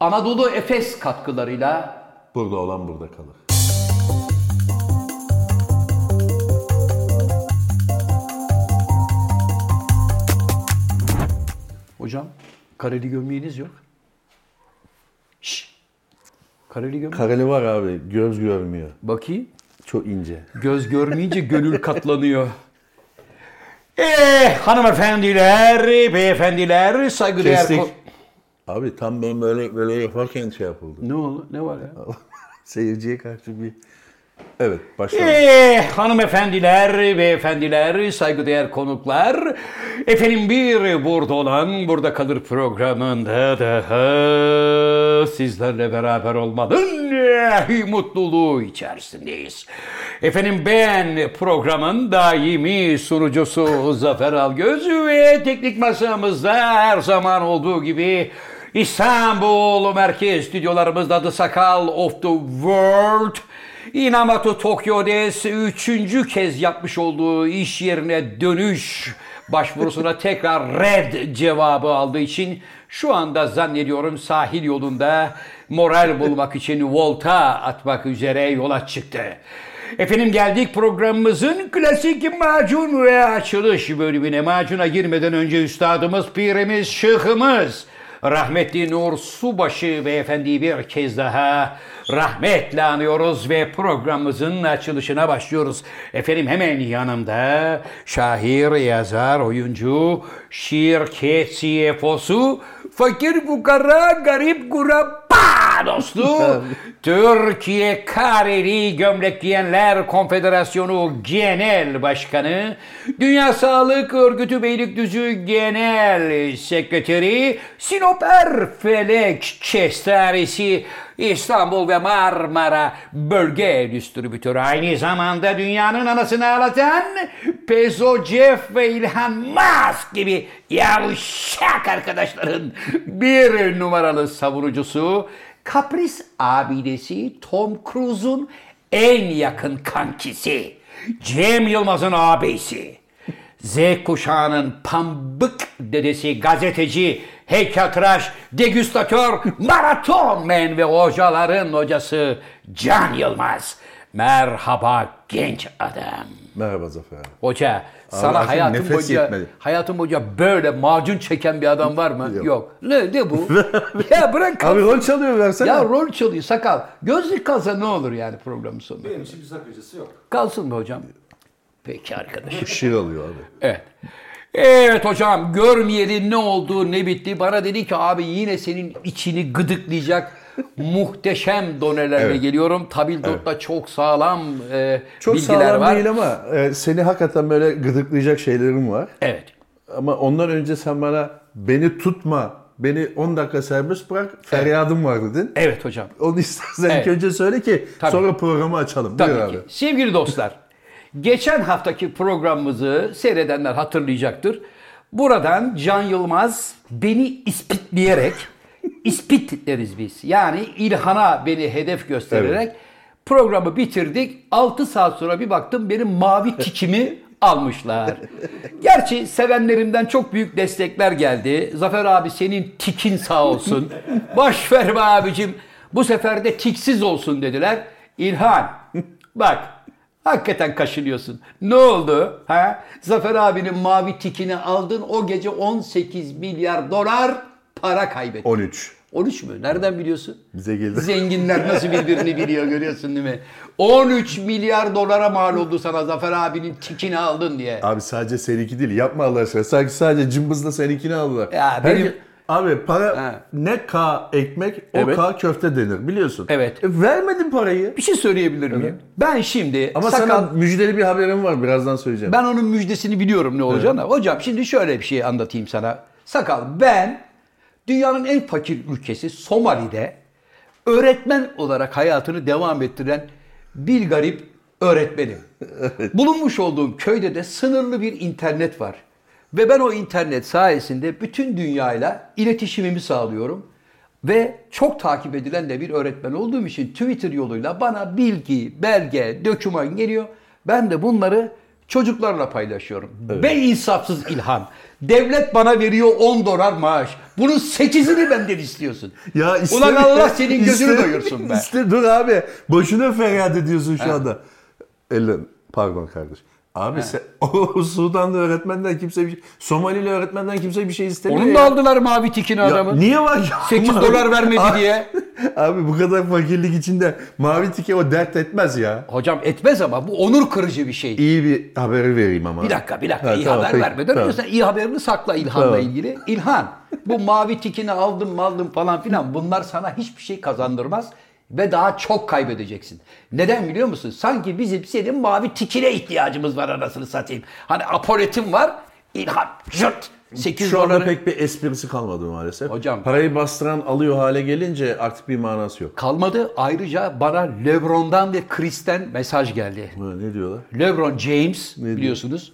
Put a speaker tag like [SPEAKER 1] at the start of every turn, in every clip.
[SPEAKER 1] Anadolu Efes katkılarıyla
[SPEAKER 2] Burada olan burada kalır.
[SPEAKER 1] Hocam kareli gömleğiniz yok. Şş. Kareli gömlek.
[SPEAKER 2] Kareli var abi. Göz görmüyor.
[SPEAKER 1] Bakayım.
[SPEAKER 2] Çok ince.
[SPEAKER 1] Göz görmeyince gönül katlanıyor. Eh hanımefendiler, beyefendiler, saygıdeğer...
[SPEAKER 2] Kestik.
[SPEAKER 1] ko-
[SPEAKER 2] Abi tam ben böyle böyle yaparken şey yapıldı.
[SPEAKER 1] Ne oldu? Ne var ya?
[SPEAKER 2] Seyirciye karşı bir... Evet başlayalım.
[SPEAKER 1] Eh hanımefendiler, beyefendiler, saygıdeğer konuklar. Efendim bir burada olan, burada kalır programında daha sizlerle beraber olmanın eh, mutluluğu içerisindeyiz. Efendim ben programın daimi sunucusu Zafer Algöz ve teknik masamızda her zaman olduğu gibi İstanbul merkez stüdyolarımızda The Sakal of the World Inamatu Tokyo'des 3. kez yapmış olduğu iş yerine dönüş başvurusuna tekrar red cevabı aldığı için şu anda zannediyorum sahil yolunda moral bulmak için volta atmak üzere yola çıktı. Efendim geldik programımızın klasik macun ve açılış bölümüne. Macuna girmeden önce üstadımız, pirimiz, şıhımız Rahmetli Nur Subaşı beyefendiyi bir kez daha rahmetle anıyoruz ve programımızın açılışına başlıyoruz. Efendim hemen yanımda şair, yazar, oyuncu, şirket CFO'su, fakir fukara, garip kurabba dostu, Türkiye Kareli Gömlek Giyenler Konfederasyonu Genel Başkanı, Dünya Sağlık Örgütü Beylikdüzü Genel Sekreteri, Sinop Erfelek Kestanesi, İstanbul ve Marmara Bölge Distribütörü. Aynı zamanda dünyanın anasını ağlatan Pezo Jeff ve İlhan Musk gibi yavşak arkadaşların bir numaralı savunucusu Kapris abidesi Tom Cruise'un en yakın kankisi. Cem Yılmaz'ın abisi. Z kuşağının pambık dedesi, gazeteci, heykeltıraş, degüstatör, maraton men ve hocaların hocası Can Yılmaz. Merhaba genç adam.
[SPEAKER 2] Merhaba Zafer abi.
[SPEAKER 1] Hoca
[SPEAKER 2] artık
[SPEAKER 1] sana hayatım
[SPEAKER 2] nefes
[SPEAKER 1] boyunca
[SPEAKER 2] yetmedi.
[SPEAKER 1] hayatım boyunca böyle macun çeken bir adam var mı? Yok.
[SPEAKER 2] Yok.
[SPEAKER 1] Ne, ne bu? ya bırak
[SPEAKER 2] Abi rol çalıyor versene.
[SPEAKER 1] ya rol çalıyor sakal. Gözlük kalsa ne olur yani programın sonunda?
[SPEAKER 3] Benim için bir sakıncası yok.
[SPEAKER 1] Kalsın mı hocam? Peki arkadaşım.
[SPEAKER 2] Şiir alıyor abi.
[SPEAKER 1] Evet. Evet hocam görmeyeli ne oldu ne bitti. Bana dedi ki abi yine senin içini gıdıklayacak muhteşem donelerle
[SPEAKER 2] Evet.
[SPEAKER 1] geliyorum. Tabildot'ta çok sağlam e,
[SPEAKER 2] Çok
[SPEAKER 1] bilgiler
[SPEAKER 2] sağlam
[SPEAKER 1] var.
[SPEAKER 2] değil ama e, seni hakikaten böyle gıdıklayacak şeylerim var.
[SPEAKER 1] Evet.
[SPEAKER 2] Ama ondan önce sen bana beni tutma, beni 10 dakika serbest bırak, feryadım var dedin.
[SPEAKER 1] Evet hocam.
[SPEAKER 2] Onu istersen
[SPEAKER 1] Evet.
[SPEAKER 2] ilk önce söyle ki
[SPEAKER 1] Tabii.
[SPEAKER 2] sonra programı açalım.
[SPEAKER 1] Tabii
[SPEAKER 2] Buyur
[SPEAKER 1] ki.
[SPEAKER 2] abi.
[SPEAKER 1] Sevgili dostlar, geçen haftaki programımızı seyredenler hatırlayacaktır. Buradan Can Yılmaz beni ispitleyerek, ispit deriz biz. Yani İlhan'a beni hedef göstererek programı bitirdik. 6 saat sonra bir baktım benim mavi tikimi almışlar. Gerçi sevenlerimden çok büyük destekler geldi. Zafer abi senin tikin sağ olsun. Boş ver be abicim. Bu sefer de tiksiz olsun dediler. İlhan bak hakikaten kaşınıyorsun. Ne oldu? Ha? Zafer abinin mavi tikini aldın. O gece 18 milyar dolar para kaybettin.
[SPEAKER 2] 13.
[SPEAKER 1] 13 mü? Nereden biliyorsun?
[SPEAKER 2] Bize geldi.
[SPEAKER 1] Zenginler nasıl birbirini biliyor görüyorsun değil mi? 13 milyar dolara mal oldu sana Zafer abinin tikini aldın diye.
[SPEAKER 2] Abi sadece seninki değil. Yapma Allah aşkına. Sanki sadece cımbızla seninkini aldılar.
[SPEAKER 1] Ya
[SPEAKER 2] Herke-
[SPEAKER 1] benim-
[SPEAKER 2] Abi para
[SPEAKER 1] Ha.
[SPEAKER 2] ne K ekmek o
[SPEAKER 1] Evet.
[SPEAKER 2] K köfte denir biliyorsun.
[SPEAKER 1] Evet.
[SPEAKER 2] E, vermedin parayı.
[SPEAKER 1] Bir şey söyleyebilir miyim? Ben şimdi
[SPEAKER 2] Ama
[SPEAKER 1] sakal
[SPEAKER 2] sana müjdeli bir haberim var birazdan söyleyeceğim.
[SPEAKER 1] ben onun müjdesini biliyorum ne olacağını. Hocam şimdi şöyle bir şey anlatayım sana. Sakal ben dünyanın en fakir ülkesi Somali'de öğretmen olarak hayatını devam ettiren bir garip öğretmenim. Bulunmuş olduğum köyde de sınırlı bir internet var. Ve ben o internet sayesinde bütün dünyayla iletişimimi sağlıyorum. Ve çok takip edilen de bir öğretmen olduğum için Twitter yoluyla bana bilgi, belge, döküman geliyor. Ben de bunları Çocuklarla paylaşıyorum. Be insafsız İlhan. Devlet bana veriyor 10 dolar maaş. Bunun 8'ini benden istiyorsun.
[SPEAKER 2] Ya iste-
[SPEAKER 1] Ulan Allah senin gözünü
[SPEAKER 2] iste-
[SPEAKER 1] doyursun be.
[SPEAKER 2] iste- dur abi. Boşuna feryat ediyorsun şu anda. Elin. Pardon kardeş. Abi sen o Sudanlı öğretmenden kimse bir şey, Somalili öğretmenden kimse bir şey istemiyor.
[SPEAKER 1] Onun
[SPEAKER 2] ya.
[SPEAKER 1] da aldılar mavi tikini
[SPEAKER 2] Ya Ah.
[SPEAKER 1] adamı.
[SPEAKER 2] Niye var ya?
[SPEAKER 1] 8
[SPEAKER 2] Mavi-
[SPEAKER 1] dolar vermedi
[SPEAKER 2] Abi-
[SPEAKER 1] diye.
[SPEAKER 2] Abi bu kadar fakirlik içinde mavi tike o dert etmez ya.
[SPEAKER 1] Hocam etmez ama bu onur kırıcı bir şey.
[SPEAKER 2] İyi bir haberi vereyim ama.
[SPEAKER 1] Bir dakika bir dakika
[SPEAKER 2] Ha,
[SPEAKER 1] iyi
[SPEAKER 2] tamam,
[SPEAKER 1] haber
[SPEAKER 2] peki,
[SPEAKER 1] vermeden
[SPEAKER 2] tamam.
[SPEAKER 1] önce sen iyi haberini sakla İlhan'la
[SPEAKER 2] Tamam.
[SPEAKER 1] ilgili. İlhan bu mavi tikini aldım aldım falan filan bunlar sana hiçbir şey kazandırmaz ve daha çok kaybedeceksin. Neden biliyor musun? Sanki bizim senin mavi tikine ihtiyacımız var anasını satayım. Hani apoletin var İlhan jırt 8
[SPEAKER 2] Şu anda
[SPEAKER 1] doları
[SPEAKER 2] pek bir esprisi kalmadı maalesef.
[SPEAKER 1] Hocam-
[SPEAKER 2] Parayı bastıran alıyor hale gelince artık bir manası yok.
[SPEAKER 1] kalmadı. Ayrıca bana Lebron'dan ve Chris'ten mesaj geldi.
[SPEAKER 2] Ha, Ne diyorlar?
[SPEAKER 1] LeBron James biliyorsunuz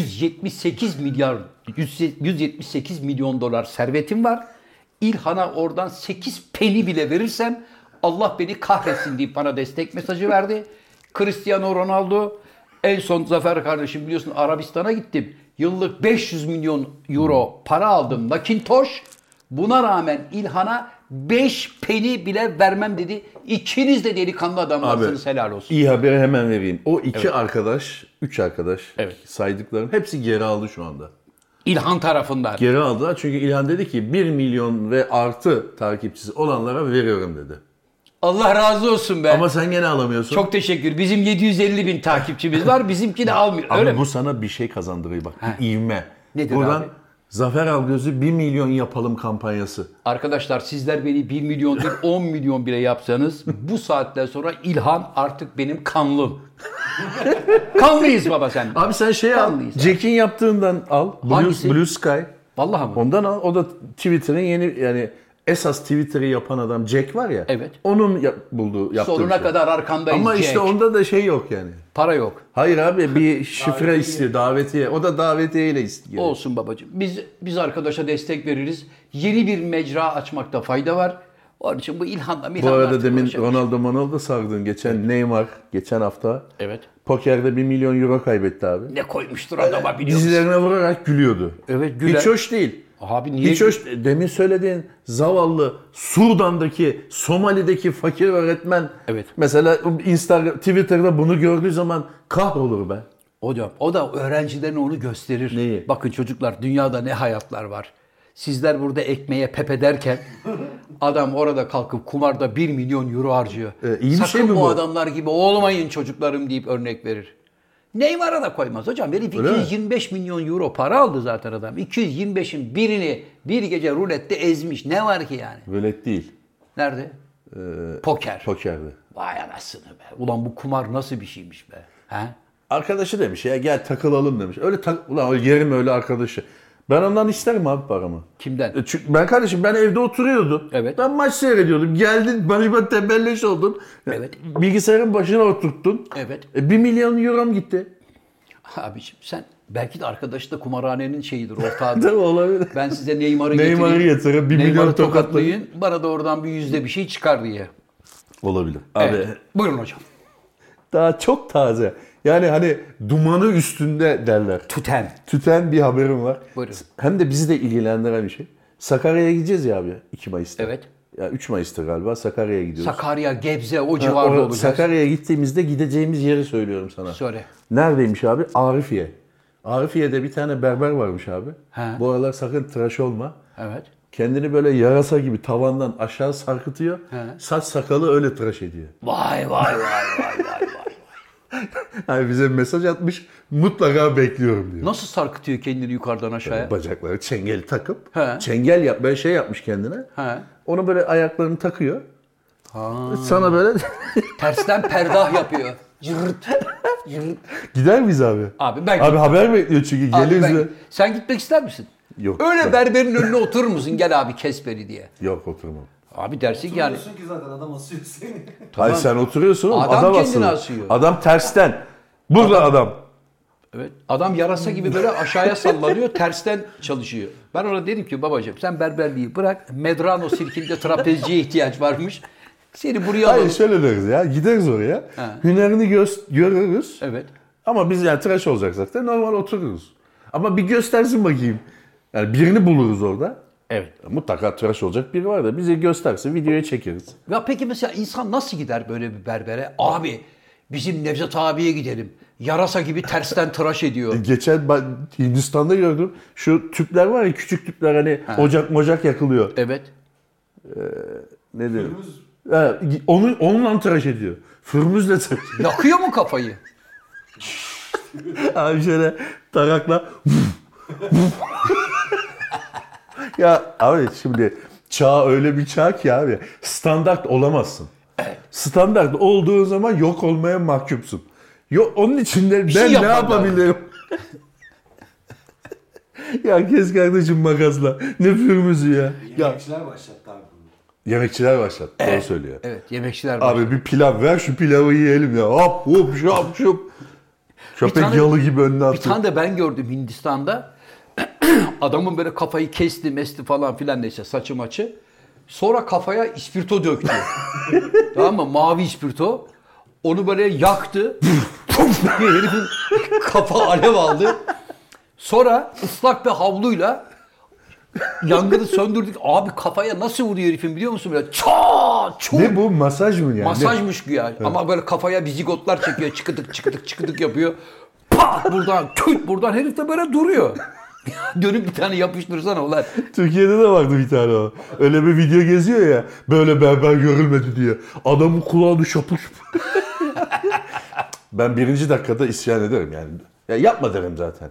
[SPEAKER 1] 178 milyar 100 178 milyon dolar servetim var. İlhan'a oradan 8 peni bile verirsem Allah beni kahretsin deyip bana destek mesajı verdi. Cristiano Ronaldo en son Zafer kardeşim biliyorsun Arabistan'a gittim. Yıllık 500 milyon euro para aldım. Nakintosh buna rağmen İlhan'a 5 peni bile vermem dedi. İkiniz de delikanlı adamlarsınız helal olsun.
[SPEAKER 2] İyi haberi hemen vereyim. O iki arkadaş, üç arkadaş
[SPEAKER 1] Evet.
[SPEAKER 2] saydıklarım hepsi geri aldı şu anda.
[SPEAKER 1] İlhan tarafından.
[SPEAKER 2] Geri aldılar çünkü İlhan dedi ki 1 milyon ve artı takipçisi olanlara veriyorum dedi.
[SPEAKER 1] Allah razı olsun be.
[SPEAKER 2] Ama sen gene alamıyorsun.
[SPEAKER 1] Çok teşekkür. Bizim 750 bin takipçimiz var. Bizimki de almıyor.
[SPEAKER 2] Ama
[SPEAKER 1] Öyle
[SPEAKER 2] bu
[SPEAKER 1] mi?
[SPEAKER 2] sana bir şey kazandırıyor bak. Bir ivme.
[SPEAKER 1] Nedir
[SPEAKER 2] Buradan
[SPEAKER 1] abi?
[SPEAKER 2] Zafer Algöz'ü 1 milyon yapalım kampanyası.
[SPEAKER 1] Arkadaşlar sizler beni 1 milyon değil 10 milyon bile yapsanız bu saatten sonra İlhan artık benim kanlım. Kanlıyız baba sen.
[SPEAKER 2] Abi sen şey al.
[SPEAKER 1] Kanlıyız abi.
[SPEAKER 2] Jack'in yaptığından al. Blue,
[SPEAKER 1] Hangisi?
[SPEAKER 2] Blue Sky.
[SPEAKER 1] Vallahi mı?
[SPEAKER 2] Ondan al. O da Twitter'ın yeni yani esas Twitter'ı yapan adam Jack var ya.
[SPEAKER 1] Evet.
[SPEAKER 2] Onun yap- bulduğu yaptığı
[SPEAKER 1] Sonuna
[SPEAKER 2] şey.
[SPEAKER 1] kadar arkandayız.
[SPEAKER 2] Ama işte
[SPEAKER 1] Jack.
[SPEAKER 2] onda da şey yok yani.
[SPEAKER 1] Para yok.
[SPEAKER 2] Hayır abi bir şifre istiyor davetiye. O da davetiyeyle istiyor.
[SPEAKER 1] Olsun babacığım. Biz biz arkadaşa destek veririz. Yeni bir mecra açmakta fayda var. Onun için bu İlhan'la
[SPEAKER 2] Bu
[SPEAKER 1] Milhan'la
[SPEAKER 2] arada
[SPEAKER 1] artık
[SPEAKER 2] demin
[SPEAKER 1] uğraşamayız.
[SPEAKER 2] Ronaldo Ronaldo sardın. Geçen Neymar geçen hafta
[SPEAKER 1] Evet.
[SPEAKER 2] pokerde 1 milyon euro kaybetti abi.
[SPEAKER 1] Ne koymuştur
[SPEAKER 2] Ee,
[SPEAKER 1] adama biliyor musun?
[SPEAKER 2] Dizilerine vurarak gülüyordu.
[SPEAKER 1] Evet, güler.
[SPEAKER 2] Hiç hoş değil.
[SPEAKER 1] Abi niye
[SPEAKER 2] Hiç hoş Demin söylediğin zavallı Sudan'daki, Somali'deki fakir öğretmen.
[SPEAKER 1] Evet.
[SPEAKER 2] Mesela Instagram, Twitter'da bunu gördüğü zaman kahrolur be.
[SPEAKER 1] Hocam o da öğrencilerine onu gösterir.
[SPEAKER 2] Neyi?
[SPEAKER 1] Bakın çocuklar dünyada ne hayatlar var. Sizler burada ekmeğe pepe derken adam orada kalkıp kumarda 1 milyon euro harcıyor.
[SPEAKER 2] E, iyi bir
[SPEAKER 1] Sakın
[SPEAKER 2] şey mi
[SPEAKER 1] bu,
[SPEAKER 2] bu?
[SPEAKER 1] adamlar gibi olmayın çocuklarım deyip örnek verir. Neymar'a da koymaz hocam. Herif
[SPEAKER 2] Öyle mi?
[SPEAKER 1] 225 milyon euro para aldı zaten adam. 225'in birini bir gece rulette ezmiş. Ne var ki yani?
[SPEAKER 2] Velet değil.
[SPEAKER 1] Nerede?
[SPEAKER 2] E,
[SPEAKER 1] Poker.
[SPEAKER 2] Pokerde.
[SPEAKER 1] Vay anasını be. Ulan bu kumar nasıl bir şeymiş be? He?
[SPEAKER 2] Arkadaşı demiş ya gel takılalım demiş. Öyle tak ulan öyle yerim öyle arkadaşı. Ben ondan isterim abi paramı.
[SPEAKER 1] Kimden?
[SPEAKER 2] E Çünkü ben kardeşim ben evde oturuyordum.
[SPEAKER 1] Evet.
[SPEAKER 2] Ben maç seyrediyordum. Geldin bana ben tembelleş oldun.
[SPEAKER 1] Evet.
[SPEAKER 2] Bilgisayarın başına oturttun.
[SPEAKER 1] Evet.
[SPEAKER 2] E, 1 milyon eurom gitti.
[SPEAKER 1] Abiciğim sen belki de arkadaş da kumarhanenin şeyidir ortağıdır.
[SPEAKER 2] Tabii olabilir.
[SPEAKER 1] ben size Neymar'ı getireyim.
[SPEAKER 2] Neymar'ı yatırın, bir
[SPEAKER 1] Neymar'ı
[SPEAKER 2] milyon tokatla-
[SPEAKER 1] tokatlayın. Bana da oradan bir yüzde bir şey çıkar diye.
[SPEAKER 2] Olabilir. Abi
[SPEAKER 1] Evet. Buyurun hocam.
[SPEAKER 2] daha çok taze. Yani hani dumanı üstünde derler.
[SPEAKER 1] Tüten.
[SPEAKER 2] Tüten bir haberim var.
[SPEAKER 1] Buyurun.
[SPEAKER 2] Hem de bizi de ilgilendiren bir şey. Sakarya'ya gideceğiz ya abi 2 Mayıs'ta.
[SPEAKER 1] Evet.
[SPEAKER 2] Ya 3 Mayıs'ta galiba Sakarya'ya gidiyoruz.
[SPEAKER 1] Sakarya, Gebze o civarda
[SPEAKER 2] Orada-
[SPEAKER 1] olacağız.
[SPEAKER 2] Sakarya'ya gittiğimizde gideceğimiz yeri söylüyorum sana.
[SPEAKER 1] Söyle.
[SPEAKER 2] Neredeymiş abi? Arifiye. Arifiye'de bir tane berber varmış abi.
[SPEAKER 1] He.
[SPEAKER 2] Bu aralar sakın tıraş olma.
[SPEAKER 1] Evet.
[SPEAKER 2] Kendini böyle yarasa gibi tavandan aşağı sarkıtıyor. Saç sakalı öyle tıraş ediyor.
[SPEAKER 1] Vay vay vay vay vay vay.
[SPEAKER 2] Yani bize mesaj atmış. Mutlaka bekliyorum diyor.
[SPEAKER 1] Nasıl sarkıtıyor kendini yukarıdan aşağıya?
[SPEAKER 2] Bacakları çengeli takıp
[SPEAKER 1] He.
[SPEAKER 2] çengel yap böyle şey yapmış kendine.
[SPEAKER 1] He.
[SPEAKER 2] Onu böyle ayaklarını takıyor. Sana böyle
[SPEAKER 1] Tersten perdah yapıyor. Yırt. Yırt.
[SPEAKER 2] gider miyiz abi?
[SPEAKER 1] Abi ben-
[SPEAKER 2] Abi haber bekliyor çünkü
[SPEAKER 1] Abi
[SPEAKER 2] gelir
[SPEAKER 1] ben-
[SPEAKER 2] bize-
[SPEAKER 1] Sen gitmek ister misin?
[SPEAKER 2] Yok.
[SPEAKER 1] Öyle
[SPEAKER 2] Ben-
[SPEAKER 1] berberin önüne oturur musun? Gel abi kes beni diye.
[SPEAKER 2] Yok oturmam.
[SPEAKER 1] Abi dersin ki yani
[SPEAKER 3] Biliyorsun ki zaten adam asıyor seni.
[SPEAKER 2] Hayır sen oturuyorsun oğlum.
[SPEAKER 1] Adam
[SPEAKER 2] Adam,
[SPEAKER 1] kendini
[SPEAKER 2] asılı.
[SPEAKER 1] asıyor.
[SPEAKER 2] Adam tersten. Burada adam.
[SPEAKER 1] Evet. Adam yarasa gibi böyle aşağıya sallanıyor, tersten çalışıyor. Ben ona dedim ki babacığım sen berberliği bırak. Medrano sirkinde trapezciye ihtiyaç varmış. Seni buraya
[SPEAKER 2] Hayır
[SPEAKER 1] alalım.
[SPEAKER 2] şöyle deriz ya. Gideriz oraya. Hünerini gö- görürüz.
[SPEAKER 1] Evet.
[SPEAKER 2] Ama biz yani tıraş olacak zaten normal otururuz. Ama bir göstersin bakayım. Yani birini buluruz orada.
[SPEAKER 1] Evet.
[SPEAKER 2] Mutlaka tıraş olacak biri var da bize göstersin videoya çekeriz.
[SPEAKER 1] Ya peki mesela insan nasıl gider böyle bir berbere? Abi bizim Nevzat abiye gidelim. Yarasa gibi tersten tıraş ediyor.
[SPEAKER 2] Geçen ben Hindistan'da gördüm. Şu tüpler var ya küçük tüpler hani ocak mocak yakılıyor.
[SPEAKER 1] Evet.
[SPEAKER 2] Ne dedim?
[SPEAKER 3] Kırmızı.
[SPEAKER 2] Ha, onu, onunla tıraş ediyor. Fırmızla tıraş ediyor.
[SPEAKER 1] Yakıyor mu kafayı?
[SPEAKER 2] Abi şöyle tarakla. ya abi şimdi çağ öyle bir çağ ki abi standart olamazsın. Standart olduğun zaman yok olmaya mahkumsun. Yok onun için de ben
[SPEAKER 1] şey
[SPEAKER 2] ne
[SPEAKER 1] yapman
[SPEAKER 2] yapabilirim? ya kes kardeşim makasla. Ne fırmızı ya. ya.
[SPEAKER 3] Yemekçiler başlattı abi bunu.
[SPEAKER 2] Yemekçiler başladı. Doğru söylüyor.
[SPEAKER 1] Evet yemekçiler var.
[SPEAKER 2] Abi bir pilav ver şu pilavı yiyelim ya. Hop hop şop şop. Köpek
[SPEAKER 1] tane-
[SPEAKER 2] yalı gibi önüne
[SPEAKER 1] Bir
[SPEAKER 2] atıyor.
[SPEAKER 1] tane de ben gördüm Hindistan'da. Adamın böyle kafayı kesti mesti falan filan neyse saçı maçı. Sonra kafaya ispirto döktü. tamam mı? Mavi ispirto. Onu böyle yaktı. Puf diye herifin kafa alev aldı. Sonra ıslak bir havluyla yangını söndürdük. Abi kafaya nasıl vuruyor herifin biliyor musun? Böyle çaa çuu
[SPEAKER 2] Ne bu masaj mı yani?
[SPEAKER 1] Masajmış güya. Ama böyle kafaya bizigotlar çekiyor. Çıkıdık çıkıdık çıkıdık yapıyor. Pat buradan küt buradan herif de böyle duruyor. Dönüp bir tane yapıştırsana ulan.
[SPEAKER 2] Türkiye'de de vardı bir tane o. Öyle bir video geziyor ya. Böyle berber görülmedi diye. Adamın kulağını şapır şupur. ben birinci dakikada isyan ederim yani. Ya yapma derim zaten.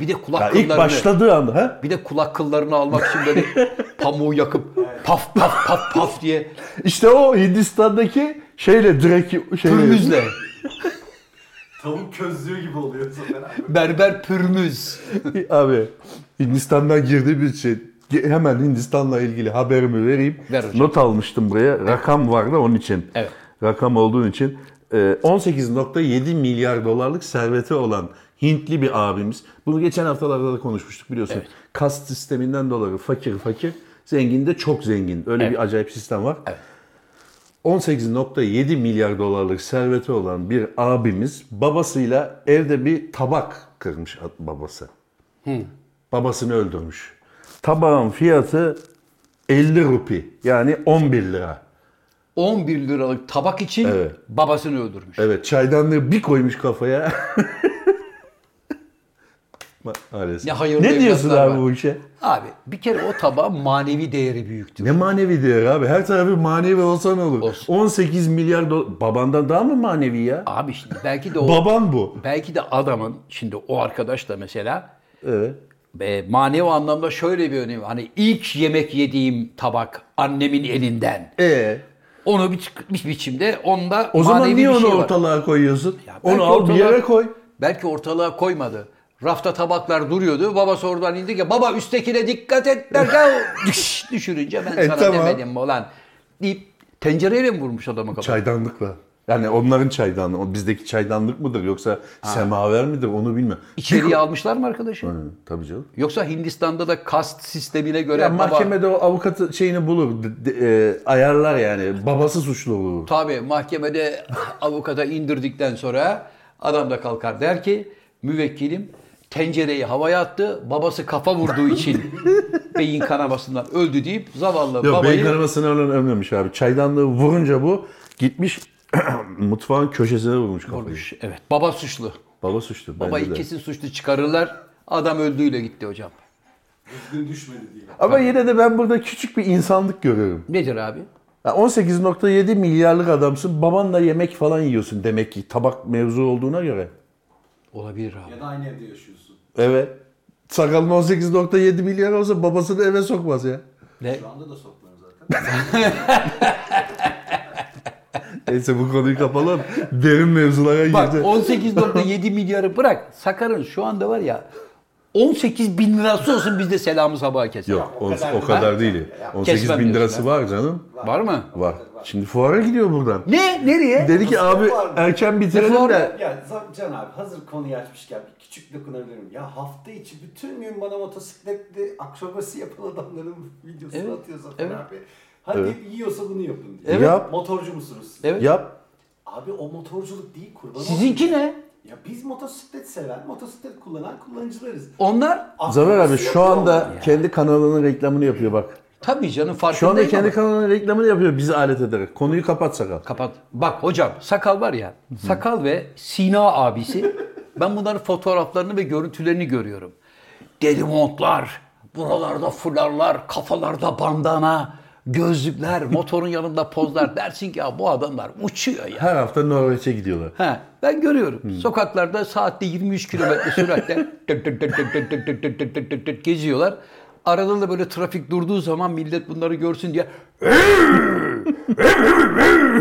[SPEAKER 1] Bir de kulak
[SPEAKER 2] Ya
[SPEAKER 1] kıllarını.
[SPEAKER 2] ilk başladığı anda ha?
[SPEAKER 1] Bir de kulak kıllarını almak için böyle pamuğu yakıp paf paf paf paf diye
[SPEAKER 2] İşte o Hindistan'daki şeyle direkt şeyle.
[SPEAKER 1] pürmüzle.
[SPEAKER 3] Tavuk közlüğü gibi oluyor zaten abi.
[SPEAKER 1] Berber pürmüz.
[SPEAKER 2] Abi Hindistan'dan girdi bir şey. Ge- Hemen Hindistan'la ilgili haberimi vereyim.
[SPEAKER 1] Ver hocam.
[SPEAKER 2] Not almıştım buraya. Rakam vardı onun için.
[SPEAKER 1] Evet.
[SPEAKER 2] Rakam olduğu için. Ee, 18.7 milyar dolarlık serveti olan Hintli bir abimiz. Bunu geçen haftalarda da konuşmuştuk biliyorsun. Kast sisteminden dolayı fakir fakir, zengin de çok zengin. Öyle
[SPEAKER 1] Evet.
[SPEAKER 2] bir acayip sistem var. 18.7 milyar dolarlık serveti olan bir abimiz babasıyla evde bir tabak kırmış at- babası. Babasını öldürmüş. Tabağın fiyatı 50 rupi yani 11 lira.
[SPEAKER 1] 11 liralık tabak için
[SPEAKER 2] Evet.
[SPEAKER 1] babasını öldürmüş.
[SPEAKER 2] Evet çaydanlığı bir koymuş kafaya. Ma- Maalesef.
[SPEAKER 1] Ne hayırlı
[SPEAKER 2] ne diyorsun
[SPEAKER 1] evlatlar
[SPEAKER 2] abi
[SPEAKER 1] var.
[SPEAKER 2] bu işe?
[SPEAKER 1] Abi bir kere o tabağın manevi değeri büyüktür.
[SPEAKER 2] Ne manevi değer abi? Her tarafı manevi olsa ne olur?
[SPEAKER 1] Olsun.
[SPEAKER 2] 18 milyar dolar. Babandan daha mı manevi ya?
[SPEAKER 1] Abi şimdi belki de o
[SPEAKER 2] Baban bu.
[SPEAKER 1] belki de adamın şimdi o arkadaş da mesela
[SPEAKER 2] Evet.
[SPEAKER 1] e, manevi anlamda şöyle bir önemi var. Hani ilk yemek yediğim tabak annemin elinden.
[SPEAKER 2] Ee?
[SPEAKER 1] Onu bir, bir biçimde onda
[SPEAKER 2] O zaman
[SPEAKER 1] manevi
[SPEAKER 2] niye
[SPEAKER 1] bir
[SPEAKER 2] onu
[SPEAKER 1] şey var.
[SPEAKER 2] ortalığa koyuyorsun?
[SPEAKER 1] Ya belki
[SPEAKER 2] onu al bir
[SPEAKER 1] ortalığa-
[SPEAKER 2] yere koy.
[SPEAKER 1] Belki ortalığa koymadı. Rafta tabaklar duruyordu. Babası oradan indi ki baba üsttekine dikkat et derken düş- düşürünce ben
[SPEAKER 2] E,
[SPEAKER 1] sana
[SPEAKER 2] tamam.
[SPEAKER 1] demedim mi olan deyip tencereyle mi vurmuş adamı kafasına?
[SPEAKER 2] Çaydanlıkla. Yani onların çaydanlığı. o Bizdeki çaydanlık mıdır yoksa semaver midir onu bilmiyorum. Bir-
[SPEAKER 1] İçeriye almışlar mı arkadaşı?
[SPEAKER 2] Hı, Tabii canım.
[SPEAKER 1] Yoksa Hindistan'da da kast sistemine göre
[SPEAKER 2] Ya
[SPEAKER 1] baba-
[SPEAKER 2] mahkemede o avukatı şeyini bulur. d- d- e, ayarlar yani. Babası suçlu olur.
[SPEAKER 1] Tabii mahkemede avukata indirdikten sonra adam da kalkar der ki müvekkilim tencereyi havaya attı babası kafa vurduğu için beyin kanamasından öldü deyip zavallı
[SPEAKER 2] Yok
[SPEAKER 1] babayı
[SPEAKER 2] beyin kanamasını ölen ölmemiş abi. Çaydanlığı vurunca bu gitmiş mutfağın köşesine vurmuş kafayı.
[SPEAKER 1] evet baba suçlu.
[SPEAKER 2] Baba suçlu.
[SPEAKER 1] Baba
[SPEAKER 2] bence de.
[SPEAKER 1] kesin suçlu çıkarırlar. Adam öldüğüyle gitti hocam.
[SPEAKER 3] Düzgün düşmedi diye.
[SPEAKER 2] Ama yine de ben burada küçük bir insanlık görüyorum.
[SPEAKER 1] Nedir abi?
[SPEAKER 2] Ya 18.7 milyarlık adamsın. Babanla yemek falan yiyorsun demek ki tabak mevzu olduğuna göre.
[SPEAKER 1] Olabilir abi.
[SPEAKER 3] Ya da aynı evde yaşıyorsun.
[SPEAKER 2] Evet. Sakalın 18.7 milyar olsa babasını eve sokmaz ya.
[SPEAKER 1] Ne?
[SPEAKER 3] Şu anda da sokmuyorum zaten.
[SPEAKER 2] Neyse bu konuyu kapalım. Derin mevzulara
[SPEAKER 1] Bak
[SPEAKER 2] girdi.
[SPEAKER 1] 18.7 milyarı bırak. Sakar'ın şu anda var ya 18 bin lirası olsun biz de selamı sabaha keser.
[SPEAKER 2] Yok
[SPEAKER 3] O
[SPEAKER 2] o,
[SPEAKER 3] kadar
[SPEAKER 2] o kadar
[SPEAKER 3] mı?
[SPEAKER 2] değil. 18
[SPEAKER 1] Kesmem
[SPEAKER 2] bin
[SPEAKER 1] diyorsun
[SPEAKER 2] lirası var canım.
[SPEAKER 1] Var mı?
[SPEAKER 2] Var. Şimdi fuara gidiyor buradan.
[SPEAKER 1] Ne? Nereye?
[SPEAKER 2] Dedi ki abi
[SPEAKER 3] Var mı?
[SPEAKER 2] erken bitirelim
[SPEAKER 1] Fuara-
[SPEAKER 2] de
[SPEAKER 3] ya Zam- Can abi hazır konuyu açmışken bir küçük dokunabilirim. Ya hafta içi bütün gün bana motosikletli akrobasi yapan adamların videosunu
[SPEAKER 1] Evet,
[SPEAKER 3] atıyor zaten
[SPEAKER 1] evet.
[SPEAKER 3] abi. Hadi yiyorsa bunu yapın diye.
[SPEAKER 2] Evet. Yap.
[SPEAKER 3] Motorcu musunuz?
[SPEAKER 1] Evet.
[SPEAKER 2] yap.
[SPEAKER 3] Abi o motorculuk değil kurban olayım.
[SPEAKER 1] Sizinki ne?
[SPEAKER 3] Ya biz motosiklet seven, motosiklet kullanan kullanıcılarız.
[SPEAKER 1] Onlar
[SPEAKER 2] Zafer abi şu
[SPEAKER 3] Yapıyor
[SPEAKER 2] anda
[SPEAKER 3] mu?
[SPEAKER 2] kendi kanalının reklamını yapıyor bak.
[SPEAKER 1] tabii canım farkındayım
[SPEAKER 2] Şu anda kendi
[SPEAKER 1] ama-
[SPEAKER 2] kanalının reklamını yapıyor bizi alet ederek. Konuyu kapat sakal.
[SPEAKER 1] Kapat. Bak hocam sakal var ya. Sakal ve Sina abisi. ben bunların fotoğraflarını ve görüntülerini görüyorum. Deli montlar, buralarda fularlar, kafalarda bandana, gözlükler, motorun yanında pozlar. Dersin ki ya bu adamlar uçuyor ya.
[SPEAKER 2] Her hafta Norveç'e gidiyorlar.
[SPEAKER 1] Ha, ben görüyorum.
[SPEAKER 2] Hmm.
[SPEAKER 1] Sokaklarda saatte 23 kilometre süratle tık tık tık tık tık tık tık tık tık tık tık tık geziyorlar. Arada da böyle trafik durduğu zaman millet bunları görsün diye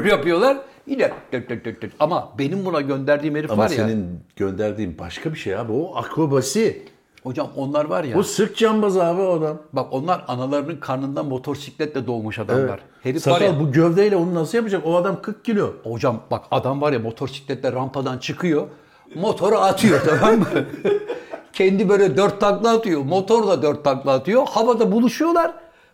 [SPEAKER 1] yapıyorlar. Yine tık tık tık tık. Ama benim buna gönderdiğim herif
[SPEAKER 2] Ama
[SPEAKER 1] var ya.
[SPEAKER 2] senin gönderdiğin başka bir şey abi. O akrobasi.
[SPEAKER 1] Hocam onlar var ya.
[SPEAKER 2] O sırt cambazı abi o adam.
[SPEAKER 1] Bak onlar analarının karnından motosikletle doğmuş adamlar. Herif var ya.
[SPEAKER 2] Sakal bu gövdeyle onu nasıl yapacak? O adam 40 kilo.
[SPEAKER 1] Hocam bak adam var ya motosikletle rampadan çıkıyor. Motoru atıyor tamam mı? Kendi böyle dört takla atıyor. Motor da dört takla atıyor. Havada buluşuyorlar.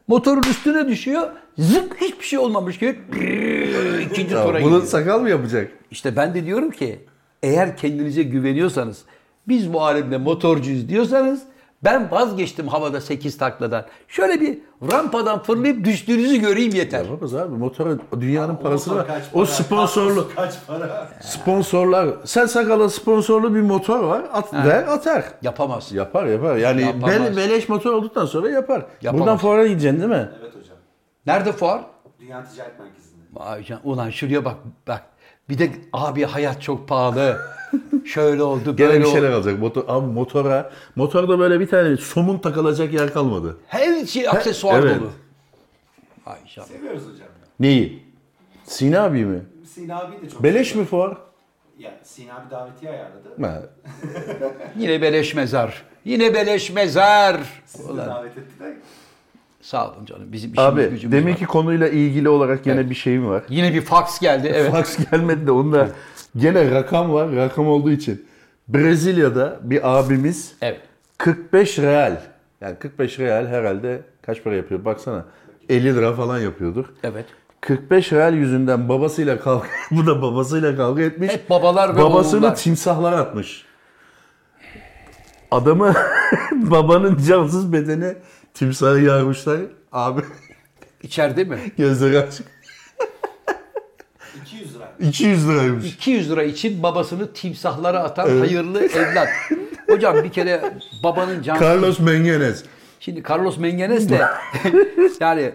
[SPEAKER 1] Motorun üstüne düşüyor. Zıp hiçbir şey olmamış gibi brrr, ikinci
[SPEAKER 2] Ya
[SPEAKER 1] tura
[SPEAKER 2] bunu
[SPEAKER 1] gidiyor.
[SPEAKER 2] sakal mı yapacak?
[SPEAKER 1] İşte ben de diyorum ki eğer kendinize güveniyorsanız biz bu alemde motorcuyuz diyorsanız ben vazgeçtim havada 8 takladan. Şöyle bir rampadan fırlayıp düştüğünüzü göreyim yeter.
[SPEAKER 2] Yapamaz abi. Motora dünyanın parasını
[SPEAKER 3] Motor
[SPEAKER 2] ver.
[SPEAKER 3] kaç
[SPEAKER 2] O
[SPEAKER 3] para?
[SPEAKER 2] sponsorlu.
[SPEAKER 3] Kaç para?
[SPEAKER 2] Sponsorlar. Sen sakala sponsorlu bir motor var. At, ver atar.
[SPEAKER 1] Yapamaz.
[SPEAKER 2] Yapar yapar. Yani
[SPEAKER 1] Yapamaz.
[SPEAKER 2] bel- beleş motor olduktan sonra yapar.
[SPEAKER 1] Yapamaz.
[SPEAKER 2] Buradan fuara gideceksin değil mi?
[SPEAKER 3] Evet hocam.
[SPEAKER 1] Nerede fuar?
[SPEAKER 3] Dünya Ticaret Merkezi'nde.
[SPEAKER 1] Vay can- ulan şuraya bak bak. Bir de abi hayat çok pahalı. Şöyle oldu
[SPEAKER 2] Gene
[SPEAKER 1] böyle
[SPEAKER 2] bir şeyler
[SPEAKER 1] oldu.
[SPEAKER 2] alacak. Motor, abi motora. Motorda böyle bir tane somun takılacak yer kalmadı.
[SPEAKER 1] Her şey aksesuar
[SPEAKER 2] evet.
[SPEAKER 1] dolu. Vay can.
[SPEAKER 3] Seviyoruz hocam. ya.
[SPEAKER 2] Neyi? Sina abi mi?
[SPEAKER 3] Sina abi de çok
[SPEAKER 2] Beleş mi fuar?
[SPEAKER 3] Ya Sina abi davetiye ayarladı.
[SPEAKER 2] Ha.
[SPEAKER 1] Yine beleş mezar. Yine beleş mezar.
[SPEAKER 3] Siz de
[SPEAKER 1] Ulan,
[SPEAKER 3] davet ettiler.
[SPEAKER 1] sağ olun canım. Bizim işimiz
[SPEAKER 2] Abi
[SPEAKER 1] gücümüz
[SPEAKER 2] demek
[SPEAKER 1] var.
[SPEAKER 2] ki konuyla ilgili olarak yine bir şeyim var.
[SPEAKER 1] Yine bir fax geldi. Evet.
[SPEAKER 2] Fax gelmedi de onda gene rakam var. Rakam olduğu için. Brezilya'da bir abimiz
[SPEAKER 1] Evet.
[SPEAKER 2] 45 real. Yani 45 real herhalde kaç para yapıyor baksana. 50 lira falan yapıyordur.
[SPEAKER 1] Evet.
[SPEAKER 2] 45 real yüzünden babasıyla kavga bu da babasıyla kavga etmiş.
[SPEAKER 1] Hep babalar ve
[SPEAKER 2] Babasını
[SPEAKER 1] oğullar.
[SPEAKER 2] timsahlara atmış. Adamı babanın cansız bedeni timsahı yarmışlar. Abi
[SPEAKER 1] İçeride mi?
[SPEAKER 2] gözleri açık.
[SPEAKER 3] 200 lira.
[SPEAKER 2] 200 liraymış.
[SPEAKER 1] 200 lira için babasını timsahlara atan hayırlı evlat. Hocam bir kere babanın canı
[SPEAKER 2] Carlos Mengenez.
[SPEAKER 1] Şimdi Carlos Mengenez de yani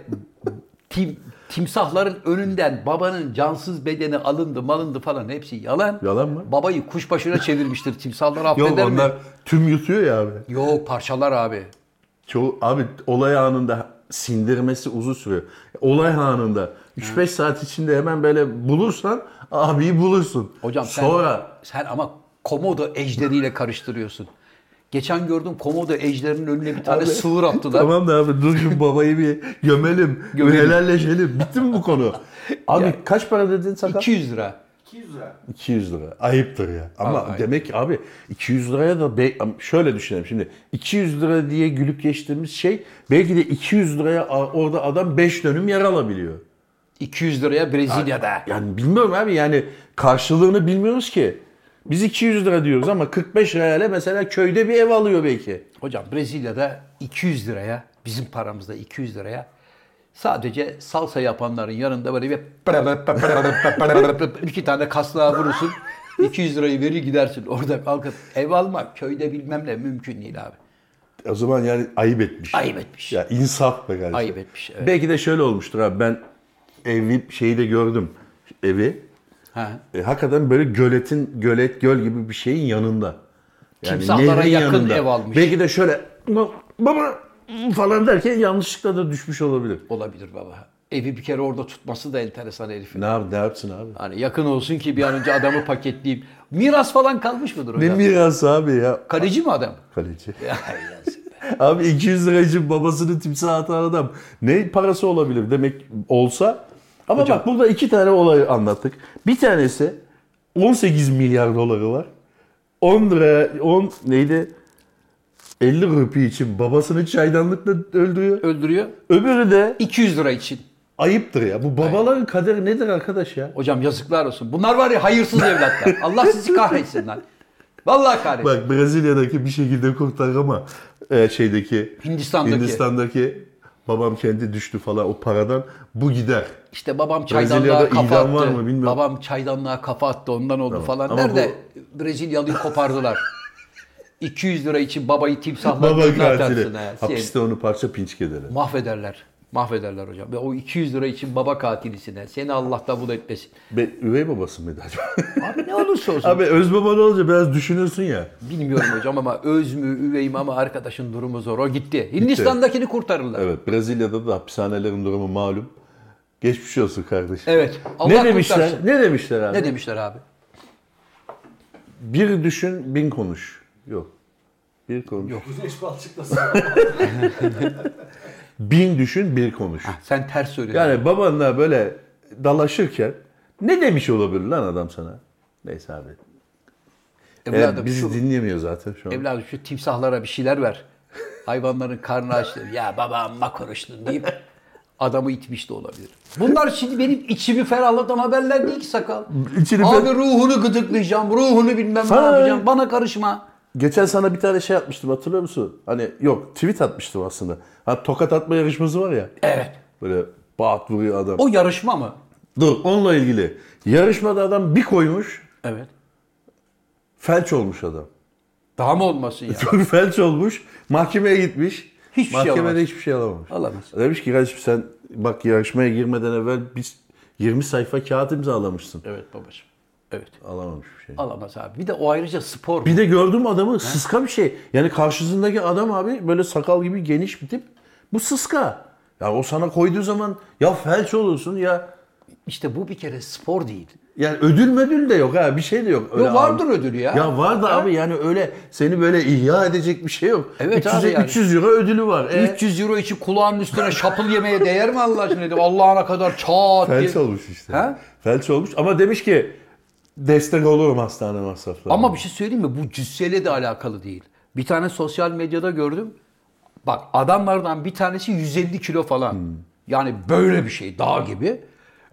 [SPEAKER 1] tim, timsahların önünden babanın cansız bedeni alındı malındı falan hepsi yalan.
[SPEAKER 2] Yalan mı?
[SPEAKER 1] Babayı kuşbaşına çevirmiştir. Timsahlar
[SPEAKER 2] Yok
[SPEAKER 1] affeder
[SPEAKER 2] onlar
[SPEAKER 1] mi?
[SPEAKER 2] tüm yutuyor ya abi.
[SPEAKER 1] Yok parçalar abi.
[SPEAKER 2] Çoğu, abi olay anında sindirmesi uzun sürüyor. Olay anında 3-5 saat içinde hemen böyle bulursan abiyi bulursun.
[SPEAKER 1] Hocam sen,
[SPEAKER 2] sonra
[SPEAKER 1] sen ama komodo ejderiyle karıştırıyorsun. Geçen gördüm komodo ejderinin önüne bir tane sığır attılar.
[SPEAKER 2] tamam da abi dur şu babayı bir gömelim,
[SPEAKER 1] Gömelim.
[SPEAKER 2] helalleşelim. Bitti mi bu konu? Abi kaç para dedin sakal?
[SPEAKER 1] 200 lira.
[SPEAKER 3] 200 lira.
[SPEAKER 2] 200 lira. Ayıptır ya. Ama
[SPEAKER 1] Aa, ayıp.
[SPEAKER 2] demek ki abi 200 liraya da be- şöyle düşünelim şimdi. 200 lira diye gülüp geçtiğimiz şey belki de 200 liraya a- orada adam 5 dönüm yer alabiliyor.
[SPEAKER 1] 200 liraya Brezilya'da.
[SPEAKER 2] Yani bilmiyorum abi yani karşılığını bilmiyoruz ki. Biz 200 lira diyoruz ama 45 reale mesela köyde bir ev alıyor belki.
[SPEAKER 1] Hocam Brezilya'da 200 liraya, bizim paramızda 200 liraya sadece salsa yapanların yanında böyle bir iki tane kaslığa vurursun. 200 lirayı verir gidersin. Orada kalkıp ev almak köyde bilmem ne mümkün değil abi.
[SPEAKER 2] O zaman yani ayıp etmiş.
[SPEAKER 1] Ayıp etmiş.
[SPEAKER 2] Ya insaf be kardeşim.
[SPEAKER 1] Ayıp etmiş, evet.
[SPEAKER 2] Belki de şöyle olmuştur abi ben evli şeyi de gördüm. Evi.
[SPEAKER 1] Ha.
[SPEAKER 2] E, hakikaten böyle göletin, gölet, göl gibi bir şeyin yanında.
[SPEAKER 1] Timsahlara
[SPEAKER 2] nehrin
[SPEAKER 1] yakın ev almış.
[SPEAKER 2] Belki de şöyle baba falan derken yanlışlıkla da düşmüş olabilir.
[SPEAKER 1] Olabilir baba. Evi bir kere orada tutması da enteresan herifin.
[SPEAKER 2] Ne, yap, ne yapsın abi?
[SPEAKER 1] Hani yakın olsun ki bir an önce adamı paketleyeyim. Miras falan kalmış mıdır
[SPEAKER 2] Ne
[SPEAKER 1] hocam?
[SPEAKER 2] miras abi ya
[SPEAKER 1] Kaleci mi adam?
[SPEAKER 2] kaleci.
[SPEAKER 1] Ay yazık.
[SPEAKER 2] Abi 200 lira için babasını timsah atan adam ne parası olabilir demek olsa. Ama bak burada iki tane olay anlattık. Bir tanesi 18 milyar doları var. 10 lira 10 neydi? 50 rupi için babasını çaydanlıkla öldürüyor.
[SPEAKER 1] Öldürüyor.
[SPEAKER 2] Öbürü de
[SPEAKER 1] 200 lira için.
[SPEAKER 2] ayıptır ya. Bu babaların kaderi nedir arkadaş ya?
[SPEAKER 1] Hocam yazıklar olsun. Bunlar var ya hayırsız evlatlar. Allah sizi kahretsin lan. Vallahi kahretsin.
[SPEAKER 2] Bak Brezilya'daki bir şekilde kurtar ama e, şeydeki
[SPEAKER 1] Hindistan'daki.
[SPEAKER 2] Hindistan'daki babam kendi düştü falan o paradan bu gider.
[SPEAKER 1] İşte babam çaydanlığa
[SPEAKER 2] Brezilya'da
[SPEAKER 1] kafa attı.
[SPEAKER 2] idam var mı bilmiyorum.
[SPEAKER 1] Babam çaydanlığa kafa attı ondan oldu falan.
[SPEAKER 2] Ama
[SPEAKER 1] Nerede Brezilyalıyı kopardılar. 200 lira için babayı timsahla
[SPEAKER 2] Baba
[SPEAKER 1] gırtlağa
[SPEAKER 2] katili.
[SPEAKER 1] atarsın ha. Şey,
[SPEAKER 2] Hapiste onu parça pinçik ederler.
[SPEAKER 1] mahvederler. Mahvederler hocam. Ve o 200 lira için baba katilisine. Seni Allah davul etmesin.
[SPEAKER 2] Be, üvey babası mıydı acaba?
[SPEAKER 1] Abi ne olursa olsun.
[SPEAKER 2] Abi öz baban olunca biraz düşünürsün ya.
[SPEAKER 1] Bilmiyorum hocam ama öz mü üvey mi ama arkadaşın durumu zor. O gitti. Hindistan'dakini kurtarırlar. Evet.
[SPEAKER 2] Evet Brezilya'da da hapishanelerin durumu malum. Geçmiş olsun kardeşim.
[SPEAKER 1] Allah
[SPEAKER 2] ne demişler?
[SPEAKER 1] kurtarsın.
[SPEAKER 2] Ne demişler abi?
[SPEAKER 1] Ne demişler abi?
[SPEAKER 2] Bir düşün, bin konuş. Yok. Bir konuş.
[SPEAKER 1] Yok.
[SPEAKER 3] Güneş balçıklasın.
[SPEAKER 2] Bin düşün, bir konuş.
[SPEAKER 1] Sen ters söylüyorsun.
[SPEAKER 2] Yani babanla böyle dalaşırken ne demiş olabilir lan adam sana? Neyse abi. Eğer
[SPEAKER 1] Evladım
[SPEAKER 2] bizi
[SPEAKER 1] şu-
[SPEAKER 2] dinlemiyor zaten şu an.
[SPEAKER 1] Evladım şu timsahlara bir şeyler ver. Hayvanların karnı aç. dedi. Ya baba amma konuştun deyip adamı itmiş de olabilir. Bunlar şimdi benim içimi ferahlatan haberler değil ki sakal.
[SPEAKER 2] İçini fer-
[SPEAKER 1] Abi ruhunu gıdıklayacağım, ruhunu bilmem ne
[SPEAKER 2] Sana-
[SPEAKER 1] yapacağım. Bana karışma.
[SPEAKER 2] Geçen sana bir tane şey atmıştım hatırlıyor musun? Hani yok tweet atmıştım aslında. Ha tokat atma yarışması var ya.
[SPEAKER 1] Evet.
[SPEAKER 2] Böyle bat vuruyor adam.
[SPEAKER 1] O yarışma mı?
[SPEAKER 2] Dur onunla ilgili. Yarışmada adam bir koymuş.
[SPEAKER 1] Evet.
[SPEAKER 2] Felç olmuş adam.
[SPEAKER 1] Daha mı olmasın ya?
[SPEAKER 2] felç olmuş. Mahkemeye gitmiş.
[SPEAKER 1] Hiçbir şey
[SPEAKER 2] Mahkemede
[SPEAKER 1] alamamış.
[SPEAKER 2] hiçbir şey alamamış.
[SPEAKER 1] Alamaz.
[SPEAKER 2] Demiş ki kardeşim sen bak yarışmaya girmeden evvel biz 20 sayfa kağıt imzalamışsın.
[SPEAKER 1] Evet babacığım. Evet.
[SPEAKER 2] Alamamış bir şey.
[SPEAKER 1] Alamaz abi. Bir de o ayrıca spor.
[SPEAKER 2] Bir de gördüm adamı sıska bir şey. Yani karşısındaki adam abi böyle sakal gibi geniş bir tip. Bu sıska. Ya o sana koyduğu zaman ya felç olursun ya
[SPEAKER 1] İşte bu bir kere spor değil.
[SPEAKER 2] yani ödül mödül de yok ha bir şey de yok.
[SPEAKER 1] Yo, vardır
[SPEAKER 2] abi.
[SPEAKER 1] ödülü ya.
[SPEAKER 2] Ya var da abi yani öyle seni böyle ihya edecek bir şey yok.
[SPEAKER 1] Evet
[SPEAKER 2] 300,
[SPEAKER 1] abi yani.
[SPEAKER 2] 300 euro ödülü var. E,
[SPEAKER 1] 300 euro için kulağının üstüne şapıl yemeye değer mi Allah aşkına? dedim. Allah'ına kadar çat diye.
[SPEAKER 2] Felç olmuş işte.
[SPEAKER 1] Ha?
[SPEAKER 2] Felç olmuş ama demiş ki destek olurum hastane masraflarına.
[SPEAKER 1] Ama bir şey söyleyeyim mi? Bu cüsseyle de alakalı değil. Bir tane sosyal medyada gördüm. Bak adamlardan bir tanesi 150 kilo falan.
[SPEAKER 2] Hmm.
[SPEAKER 1] Yani böyle bir şey dağ gibi.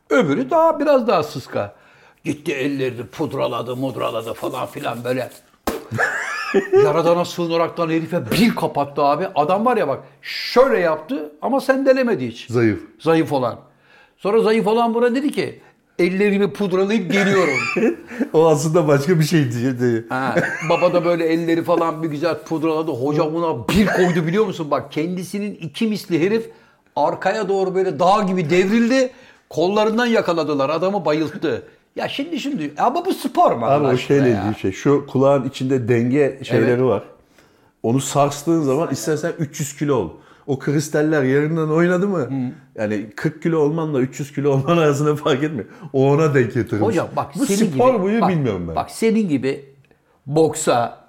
[SPEAKER 1] Öbürü daha biraz daha sıska. Gitti ellerini pudraladı, mudraladı falan filan böyle. Yaradana sığınaraktan herife bir kapattı abi. Adam var ya bak şöyle yaptı ama sendelemedi hiç.
[SPEAKER 2] Zayıf.
[SPEAKER 1] Zayıf olan. Sonra zayıf olan buna dedi ki ellerimi pudralayıp geliyorum.
[SPEAKER 2] O aslında başka bir şey diye. diye.
[SPEAKER 1] Ha, baba da böyle elleri falan bir güzel pudraladı. Hoca buna bir koydu biliyor musun? Bak kendisinin iki misli herif arkaya doğru böyle dağ gibi devrildi. Kollarından yakaladılar. Adamı bayılttı. Ya şimdi şimdi ama bu spor mu?
[SPEAKER 2] Abi
[SPEAKER 1] Allah
[SPEAKER 2] o
[SPEAKER 1] aşkına
[SPEAKER 2] şeyle
[SPEAKER 1] ya?
[SPEAKER 2] ilgili şey. Şu kulağın içinde denge şeyleri
[SPEAKER 1] Evet.
[SPEAKER 2] var. Onu sarstığın zaman istersen 300 kilo ol. O kristaller yerinden oynadı mı? Yani 40 kilo olmanla 300 kilo olman arasında fark etmiyor. O ona denk getirir.
[SPEAKER 1] Hocam bak
[SPEAKER 2] Bu
[SPEAKER 1] senin
[SPEAKER 2] spor
[SPEAKER 1] gibi,
[SPEAKER 2] muyu
[SPEAKER 1] bak,
[SPEAKER 2] bilmiyorum ben.
[SPEAKER 1] Bak senin gibi boksa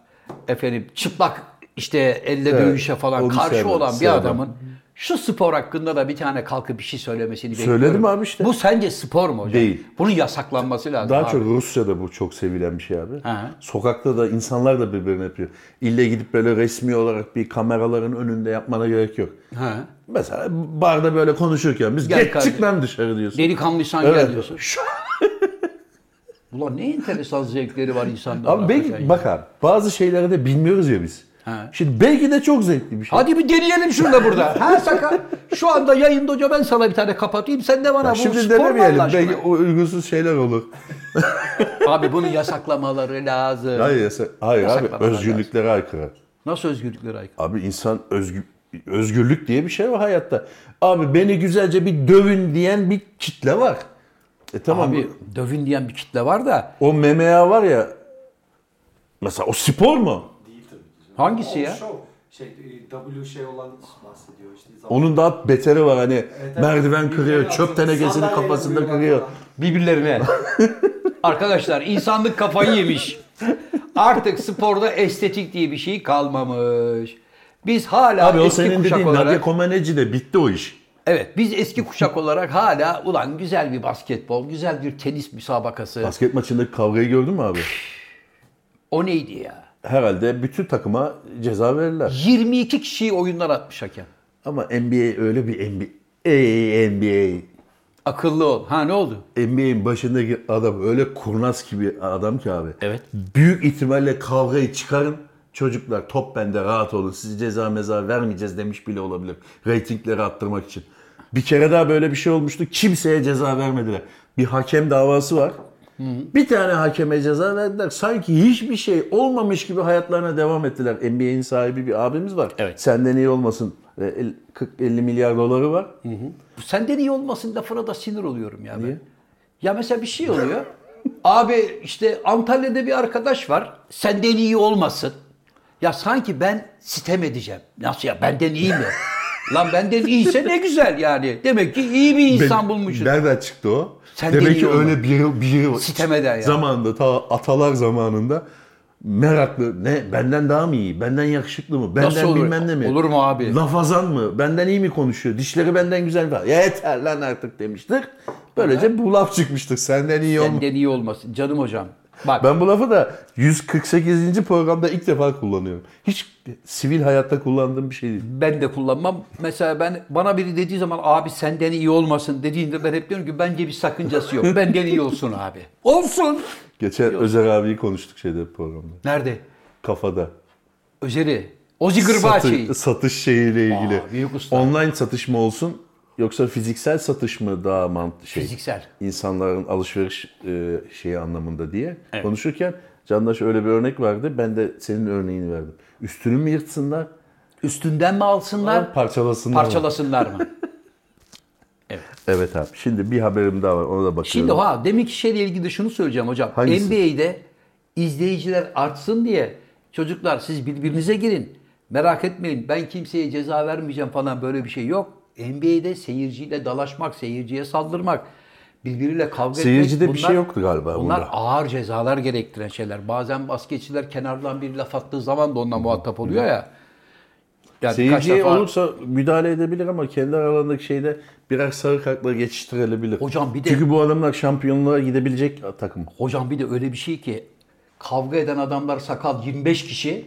[SPEAKER 1] efendim çıplak işte elle
[SPEAKER 2] Evet,
[SPEAKER 1] dövüşe falan
[SPEAKER 2] onu
[SPEAKER 1] karşı
[SPEAKER 2] sevmem,
[SPEAKER 1] olan bir
[SPEAKER 2] sevmem.
[SPEAKER 1] adamın şu spor hakkında da bir tane kalkıp bir şey söylemesini
[SPEAKER 2] Söyledim
[SPEAKER 1] bekliyorum.
[SPEAKER 2] abi işte.
[SPEAKER 1] Bu sence spor mu hocam?
[SPEAKER 2] Değil.
[SPEAKER 1] Bunun yasaklanması lazım.
[SPEAKER 2] Daha
[SPEAKER 1] abi.
[SPEAKER 2] çok Rusya'da bu çok sevilen bir şey abi.
[SPEAKER 1] Ha.
[SPEAKER 2] Sokakta da insanlar da birbirini yapıyor. İlle gidip böyle resmi olarak bir kameraların önünde yapmana gerek yok.
[SPEAKER 1] Ha.
[SPEAKER 2] Mesela barda böyle konuşurken biz
[SPEAKER 1] Gel
[SPEAKER 2] geç
[SPEAKER 1] kardeşim."
[SPEAKER 2] çık lan dışarı diyorsun.
[SPEAKER 1] Delikanlıysan
[SPEAKER 2] Evet.
[SPEAKER 1] gel diyorsun. Ulan ne enteresan zevkleri var insanda.
[SPEAKER 2] Abi
[SPEAKER 1] hakikaten
[SPEAKER 2] belki
[SPEAKER 1] ya.
[SPEAKER 2] bak abi bazı şeyleri de bilmiyoruz ya biz.
[SPEAKER 1] Ha.
[SPEAKER 2] Şimdi belki de çok zevkli bir şey.
[SPEAKER 1] Hadi bir deneyelim şunu da burada. Ha sakal. Şu anda yayında hoca ben sana bir tane kapatayım. Sen de bana
[SPEAKER 2] Ya
[SPEAKER 1] bu
[SPEAKER 2] şimdi
[SPEAKER 1] spor mu
[SPEAKER 2] denemeyelim.
[SPEAKER 1] Allah aşkına?
[SPEAKER 2] Belki o uygunsuz şeyler olur.
[SPEAKER 1] Abi bunu yasaklamaları lazım.
[SPEAKER 2] Hayır, yasa- hayır abi
[SPEAKER 1] Yasaklamalar
[SPEAKER 2] özgürlüklere aykırı.
[SPEAKER 1] Nasıl özgürlüklere aykırı?
[SPEAKER 2] Abi insan özgü, özgürlük diye bir şey var hayatta. Abi beni güzelce bir dövün diyen bir kitle var. E tamam
[SPEAKER 1] Abi dövün diyen bir kitle var da
[SPEAKER 2] o MMA var ya mesela o spor mu?
[SPEAKER 3] Değil tabii ki. canım.
[SPEAKER 1] hangisi
[SPEAKER 3] O
[SPEAKER 1] ya?
[SPEAKER 3] Show. Şey, e, W şey olan bahsediyor işte. Zaman-
[SPEAKER 2] Onun daha beteri var hani
[SPEAKER 3] evet.
[SPEAKER 2] merdiven kırıyor, çöp
[SPEAKER 3] Sandalye
[SPEAKER 2] tenekesini
[SPEAKER 3] vuruyorlar
[SPEAKER 2] kafasında
[SPEAKER 3] falan.
[SPEAKER 2] kırıyor.
[SPEAKER 1] Birbirlerine. Arkadaşlar insanlık kafayı yemiş. Artık sporda estetik diye bir şey kalmamış. Biz hala
[SPEAKER 2] Abi o
[SPEAKER 1] eski
[SPEAKER 2] senin
[SPEAKER 1] kuşak
[SPEAKER 2] dediğin
[SPEAKER 1] olarak...
[SPEAKER 2] Nadia Comaneci de bitti o iş.
[SPEAKER 1] Evet biz eski kuşak olarak hala ulan güzel bir basketbol, güzel bir tenis müsabakası.
[SPEAKER 2] Basket maçındaki kavgayı gördün mü abi?
[SPEAKER 1] O neydi ya?
[SPEAKER 2] Herhalde bütün takıma ceza verirler.
[SPEAKER 1] 22 kişiyi oyundan atmış hakem.
[SPEAKER 2] Ama NBA öyle bir NBA. Ey NBA.
[SPEAKER 1] Akıllı ol. Ha ne oldu?
[SPEAKER 2] NBA'in başındaki adam öyle kurnaz gibi adam ki abi.
[SPEAKER 1] Evet.
[SPEAKER 2] Büyük ihtimalle kavgayı çıkarın. Çocuklar top bende rahat olun. Sizi ceza meza vermeyeceğiz demiş bile olabilir. Ratingleri arttırmak için. Bir kere daha böyle bir şey olmuştu. Kimseye ceza vermediler. Bir hakem davası var. Bir tane hakeme ceza verdiler. Sanki hiçbir şey olmamış gibi hayatlarına devam ettiler. NBA'in sahibi bir abimiz var.
[SPEAKER 1] Evet.
[SPEAKER 2] Senden iyi olmasın. E, 40-50 milyar doları var.
[SPEAKER 1] Senden iyi olmasın lafına da sinir oluyorum ya ben. Ya mesela bir şey oluyor. Abi işte Antalya'da bir arkadaş var. Senden iyi olmasın. Ya sanki ben sitem edeceğim. Nasıl ya benden iyi mi? Lan benden iyiyse ne güzel yani. Demek ki iyi bir insan
[SPEAKER 2] Ben-
[SPEAKER 1] bulmuşuz.
[SPEAKER 2] Nereden çıktı o?
[SPEAKER 1] Sen
[SPEAKER 2] Demek
[SPEAKER 1] deli
[SPEAKER 2] ki
[SPEAKER 1] olma.
[SPEAKER 2] öyle biri, biri var.
[SPEAKER 1] Sitem eden ya.
[SPEAKER 2] Zamanında ta atalar zamanında meraklı ne benden daha mı iyi? Benden yakışıklı mı? Benden
[SPEAKER 1] Nasıl olur?
[SPEAKER 2] bilmem ne mi?
[SPEAKER 1] Olur mu abi?
[SPEAKER 2] Lafazan mı? Benden iyi mi konuşuyor? Dişleri benden güzel mi? Ya yeter lan artık demiştir. Böylece bu laf çıkmıştır. Senden iyi olma.
[SPEAKER 1] Senden iyi olmasın. Canım hocam. Bak
[SPEAKER 2] Ben bu lafı da 148. programda ilk defa kullanıyorum. Hiç sivil hayatta kullandığım bir şey değil.
[SPEAKER 1] ben de kullanmam. Mesela ben bana biri dediği zaman abi senden iyi olmasın dediğinde ben hep diyorum ki bence bir sakıncası yok. Benden iyi olsun abi. Olsun.
[SPEAKER 2] Geçen Özer abiyi konuştuk şeyde programda.
[SPEAKER 1] Nerede?
[SPEAKER 2] Kafada.
[SPEAKER 1] Özeri. Ozi Gırbaçi.
[SPEAKER 2] Satı- satış şeyiyle ilgili.
[SPEAKER 1] Aa, büyük usta.
[SPEAKER 2] Online satış mı olsun yoksa fiziksel satış mı daha mantıklı şey?
[SPEAKER 1] Fiziksel.
[SPEAKER 2] İnsanların alışveriş e, şeyi anlamında diye
[SPEAKER 1] Evet.
[SPEAKER 2] konuşurken Candaş öyle bir örnek verdi. Ben de senin örneğini verdim. Üstünü mü yırtsınlar?
[SPEAKER 1] Üstünden mi alsınlar?
[SPEAKER 2] Parçalasınlar. mı?
[SPEAKER 1] Parçalasınlar mı?
[SPEAKER 2] Evet abi. Şimdi bir haberim daha var. Ona da bakıyorum.
[SPEAKER 1] Şimdi ha deminki şeyle ilgili de şunu söyleyeceğim hocam.
[SPEAKER 2] Hangisi?
[SPEAKER 1] NBA'de izleyiciler artsın diye çocuklar siz birbirinize girin. Merak etmeyin ben kimseye ceza vermeyeceğim falan böyle bir şey yok. NBA'de seyirciyle dalaşmak, seyirciye saldırmak, birbiriyle kavga
[SPEAKER 2] Seyircide
[SPEAKER 1] etmek
[SPEAKER 2] bir şey yoktu galiba
[SPEAKER 1] Bunlar
[SPEAKER 2] bunda.
[SPEAKER 1] ağır cezalar gerektiren şeyler. Bazen basketçiler kenardan bir laf attığı zaman da onunla muhatap oluyor ya. Yani birkaç
[SPEAKER 2] Seyirciye
[SPEAKER 1] defa-
[SPEAKER 2] olursa müdahale edebilir ama kendi aralarındaki şeyde birer sarı kartla geçiştirilebilir.
[SPEAKER 1] Hocam bir de-
[SPEAKER 2] Çünkü bu adamlar şampiyonluğa gidebilecek takım.
[SPEAKER 1] Hocam bir de öyle bir şey ki kavga eden adamlar sakal 25 kişi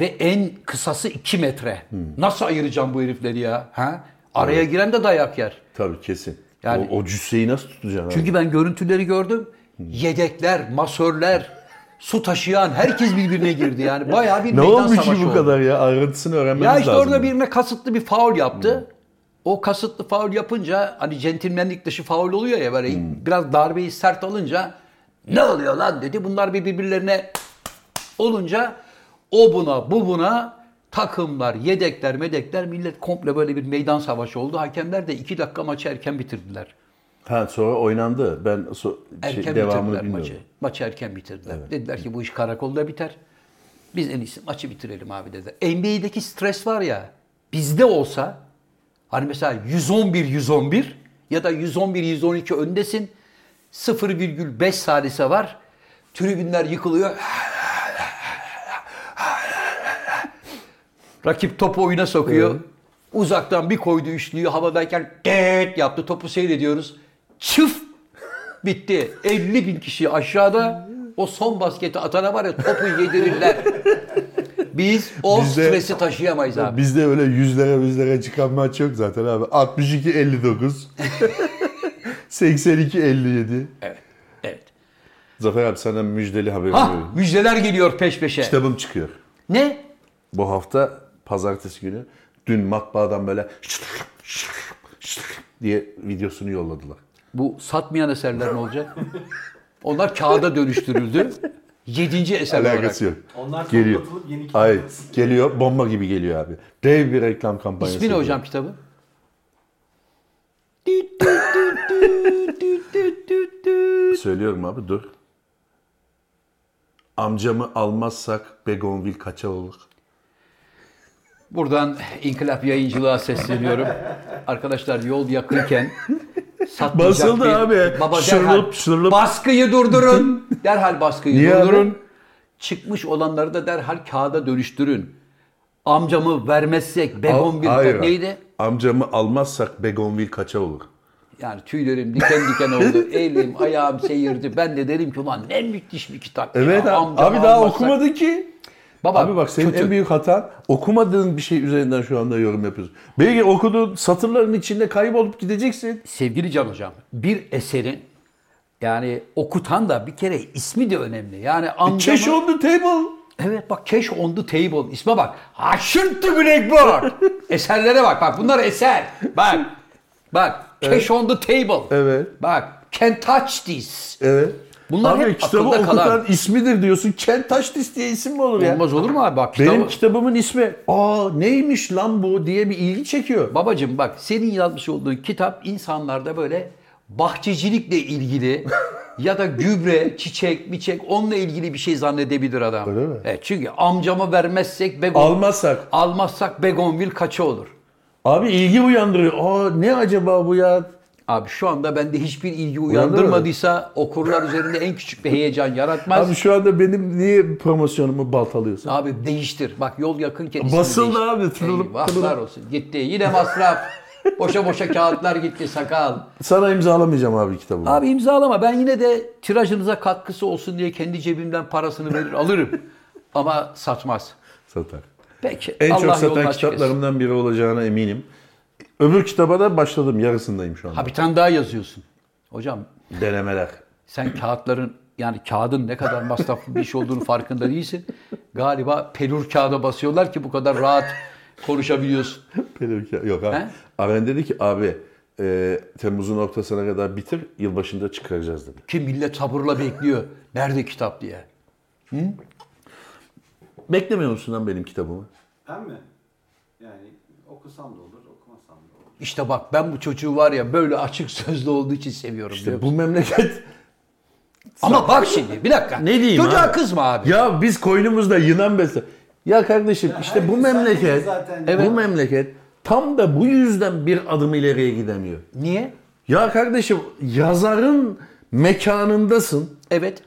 [SPEAKER 1] ve en kısası 2 metre. Nasıl ayıracağım bu herifleri ya? Ha? Araya giren de dayak yer.
[SPEAKER 2] Tabii kesin.
[SPEAKER 1] Yani-
[SPEAKER 2] o, o cüsseyi nasıl tutacaksın? abi?
[SPEAKER 1] Çünkü ben görüntüleri gördüm.
[SPEAKER 2] Hmm.
[SPEAKER 1] Yedekler, masörler, su taşıyan herkes birbirine girdi yani. Bayağı bir
[SPEAKER 2] Ne
[SPEAKER 1] meydan
[SPEAKER 2] olmuş
[SPEAKER 1] savaşı
[SPEAKER 2] ki bu
[SPEAKER 1] oldu.
[SPEAKER 2] kadar ya? Ayrıntısını öğrenmemiz
[SPEAKER 1] Ya işte
[SPEAKER 2] lazım.
[SPEAKER 1] orada birine kasıtlı bir faul yaptı. O kasıtlı faul yapınca hani centilmenlik dışı faul oluyor ya böyle
[SPEAKER 2] Hmm.
[SPEAKER 1] biraz darbeyi sert alınca ne oluyor lan dedi. Bunlar bir birbirlerine olunca o buna bu buna takımlar, yedekler, medekler millet komple böyle bir meydan savaşı oldu. Hakemler de iki dakika maçı erken bitirdiler.
[SPEAKER 2] Ha sonra oynandı. Ben so- şey,
[SPEAKER 1] Erken
[SPEAKER 2] devamını
[SPEAKER 1] bitirdiler
[SPEAKER 2] bilmiyorum.
[SPEAKER 1] maçı. Maçı erken bitirdiler. Dediler ki bu iş karakolda biter. Biz en iyisi maçı bitirelim abi dedi. NBA'deki stres var ya bizde olsa hani mesela 111-111 ya da 111-112 öndesin 0,5 salise var. Tribünler yıkılıyor. Rakip topu oyuna sokuyor. Uzaktan bir koydu üçlüyü havadayken det yaptı. Topu seyrediyoruz. Çıf bitti. 50 bin kişi aşağıda o son basketi atana var ya topu yedirirler. Biz o
[SPEAKER 2] Bizde-
[SPEAKER 1] stresi taşıyamayız abi.
[SPEAKER 2] Bizde öyle yüzlere yüzlere çıkan maç yok zaten abi. 62-59. 82-57.
[SPEAKER 1] Evet. Evet.
[SPEAKER 2] Zafer abi sana müjdeli haberim
[SPEAKER 1] Ha
[SPEAKER 2] veriyorum.
[SPEAKER 1] müjdeler geliyor peş peşe.
[SPEAKER 2] Kitabım çıkıyor.
[SPEAKER 1] Ne?
[SPEAKER 2] Bu hafta pazartesi günü dün matbaadan böyle diye videosunu yolladılar.
[SPEAKER 1] Bu satmayan eserler ne olacak? Onlar kağıda dönüştürüldü. Yedinci eser olarak.
[SPEAKER 2] Alakası yok.
[SPEAKER 3] Onlar
[SPEAKER 2] geliyor.
[SPEAKER 3] toplatılıp yeni kitap
[SPEAKER 2] Hayır.
[SPEAKER 3] yazılsın.
[SPEAKER 2] Geliyor. Bomba gibi geliyor abi. Dev bir reklam kampanyası.
[SPEAKER 1] İsmi ne
[SPEAKER 2] yapıyor.
[SPEAKER 1] hocam kitabın?
[SPEAKER 2] Söylüyorum abi dur. Amcamı almazsak Begonvil kaça olur?
[SPEAKER 1] Buradan İnkılap Yayıncılığa sesleniyorum. Arkadaşlar yol yakınken satmayacak
[SPEAKER 2] Basıldı
[SPEAKER 1] bir-
[SPEAKER 2] abi.
[SPEAKER 1] Baba derhal,
[SPEAKER 2] Şırlıp, şırlıp.
[SPEAKER 1] baskıyı durdurun. Derhal baskıyı
[SPEAKER 2] Niye abi?
[SPEAKER 1] durdurun. Çıkmış olanları da derhal kağıda dönüştürün. Amcamı vermezsek Begon bir
[SPEAKER 2] Hayır.
[SPEAKER 1] neydi?
[SPEAKER 2] Amcamı almazsak Begonvil kaça olur?
[SPEAKER 1] Yani tüylerim diken diken oldu. Elim ayağım seyirdi. Ben de derim ki ulan ne müthiş bir kitap. ya.
[SPEAKER 2] Evet abi.
[SPEAKER 1] Amcamı
[SPEAKER 2] abi daha
[SPEAKER 1] almazsak-
[SPEAKER 2] okumadı ki.
[SPEAKER 1] Baba
[SPEAKER 2] Abi bak senin
[SPEAKER 1] kötü.
[SPEAKER 2] en büyük hatan okumadığın bir şey üzerinden şu anda yorum yapıyorsun. Belki okuduğun satırların içinde kaybolup gideceksin.
[SPEAKER 1] Sevgili Can Hocam, bir eserin yani okutan da bir kere ismi de önemli.
[SPEAKER 2] E,
[SPEAKER 1] Yani anlamı...
[SPEAKER 2] Cash on the table.
[SPEAKER 1] Evet bak Cash on the Table. İsme bak. Haşır to Blackboard. Eserlere bak. Bak bunlar eser. Bak. Bak. Cash on the Table.
[SPEAKER 2] Evet.
[SPEAKER 1] Bak. Can't touch this.
[SPEAKER 2] Evet.
[SPEAKER 1] Bunlar
[SPEAKER 2] abi
[SPEAKER 1] hep
[SPEAKER 2] kitabı
[SPEAKER 1] akılda
[SPEAKER 2] okutan
[SPEAKER 1] kalan.
[SPEAKER 2] ismidir diyorsun. Kent Taşdis diye isim mi olur ya?
[SPEAKER 1] Olmaz olur mu abi? Bak
[SPEAKER 2] Benim
[SPEAKER 1] kitabı-
[SPEAKER 2] kitabımın ismi aa neymiş lan bu diye bir ilgi çekiyor.
[SPEAKER 1] Babacım bak senin yazmış olduğun kitap insanlarda böyle bahçecilikle ilgili ya da gübre, çiçek, miçek onunla ilgili bir şey zannedebilir adam.
[SPEAKER 2] Öyle mi?
[SPEAKER 1] Evet, çünkü amcama vermezsek begon,
[SPEAKER 2] Almazsak.
[SPEAKER 1] almazsak begonvil kaça olur?
[SPEAKER 2] Abi ilgi uyandırıyor. Aa ne acaba bu ya?
[SPEAKER 1] Abi şu anda bende hiçbir ilgi
[SPEAKER 2] Uyandırmadı.
[SPEAKER 1] uyandırmadıysa okurlar üzerinde en küçük bir heyecan yaratmaz.
[SPEAKER 2] Abi
[SPEAKER 1] Abi,
[SPEAKER 2] şu anda benim niye promosyonumu baltalıyorsun?
[SPEAKER 1] değiştir. Bak yol yakınken ismini
[SPEAKER 2] Basıldı
[SPEAKER 1] değiştir.
[SPEAKER 2] abi, tırılıp-
[SPEAKER 1] Eyvahlar
[SPEAKER 2] tırılıp.
[SPEAKER 1] olsun. Gitti. Yine masraf. boşa boşa kağıtlar gitti sakal.
[SPEAKER 2] Sana imzalamayacağım abi kitabımı.
[SPEAKER 1] Abi imzalama. Ben yine de tirajınıza katkısı olsun diye kendi cebimden parasını verir alırım. Ama satmaz.
[SPEAKER 2] Satar.
[SPEAKER 1] Peki.
[SPEAKER 2] En
[SPEAKER 1] Allah
[SPEAKER 2] çok
[SPEAKER 1] yolunu
[SPEAKER 2] satan
[SPEAKER 1] açık etsin.
[SPEAKER 2] kitaplarımdan biri olacağına eminim. Öbür kitaba da başladım. Yarısındayım şu anda.
[SPEAKER 1] Ha bir tane daha yazıyorsun. Hocam
[SPEAKER 2] Denemeler.
[SPEAKER 1] sen kağıtların yani kağıdın ne kadar masraflı bir iş olduğunu farkında değilsin. Galiba pelur kağıda basıyorlar ki bu kadar rahat konuşabiliyorsun.
[SPEAKER 2] Pelin- Yok abi.
[SPEAKER 1] He?
[SPEAKER 2] Aren dedi ki abi e, Temmuz'un ortasına kadar bitir. Yılbaşında çıkaracağız dedi.
[SPEAKER 1] Ki millet sabırla bekliyor. Nerede kitap diye.
[SPEAKER 2] Beklemiyor musun lan benim kitabımı?
[SPEAKER 3] Ben mi? Yani okusam da olur, okumasam da olur.
[SPEAKER 1] İşte bak ben bu çocuğu var ya böyle açık sözlü olduğu için seviyorum. diyor.
[SPEAKER 2] İşte bu memleket
[SPEAKER 1] Ama bak şimdi bir dakika.
[SPEAKER 2] Ne diyeyim
[SPEAKER 1] Çocuğa
[SPEAKER 2] abi?
[SPEAKER 1] kızma abi.
[SPEAKER 2] Ya biz koynumuzda yılan besle. Ya kardeşim işte bu
[SPEAKER 3] herkes herkes
[SPEAKER 2] memleket
[SPEAKER 3] zaten-
[SPEAKER 1] Evet.
[SPEAKER 2] bu memleket tam da bu yüzden bir adım ileriye gidemiyor.
[SPEAKER 1] Niye?
[SPEAKER 2] Ya kardeşim yazarın mekanındasın.
[SPEAKER 1] Evet.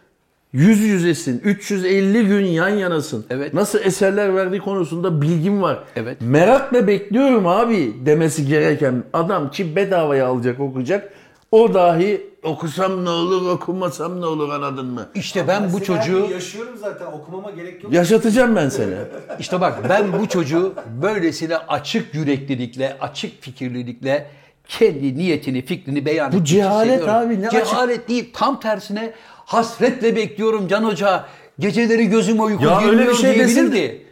[SPEAKER 2] Yüz yüzesin. 350 gün yan yanasın.
[SPEAKER 1] Evet.
[SPEAKER 2] Nasıl eserler verdiği konusunda bilgim var.
[SPEAKER 1] Evet.
[SPEAKER 2] Merakla bekliyorum abi demesi gereken adam ki bedavaya alacak okuyacak. O dahi okusam ne olur okumasam ne olur anladın mı?
[SPEAKER 1] İşte ben bu
[SPEAKER 3] Mesela
[SPEAKER 1] çocuğu
[SPEAKER 3] yaşıyorum zaten okumama gerek yok.
[SPEAKER 2] Yaşatacağım ben seni.
[SPEAKER 1] işte bak ben bu çocuğu böylesine açık yüreklilikle, açık fikirlilikle kendi niyetini, fikrini beyan ettiği için
[SPEAKER 2] cehalet
[SPEAKER 1] seviyorum.
[SPEAKER 2] abi, ne açık-
[SPEAKER 1] Cehalet değil tam tersine hasretle bekliyorum Can Hoca. Geceleri gözüm uyku
[SPEAKER 2] Ya öyle bir
[SPEAKER 1] girmiyor
[SPEAKER 2] şey desin de-
[SPEAKER 1] diyebilirdi.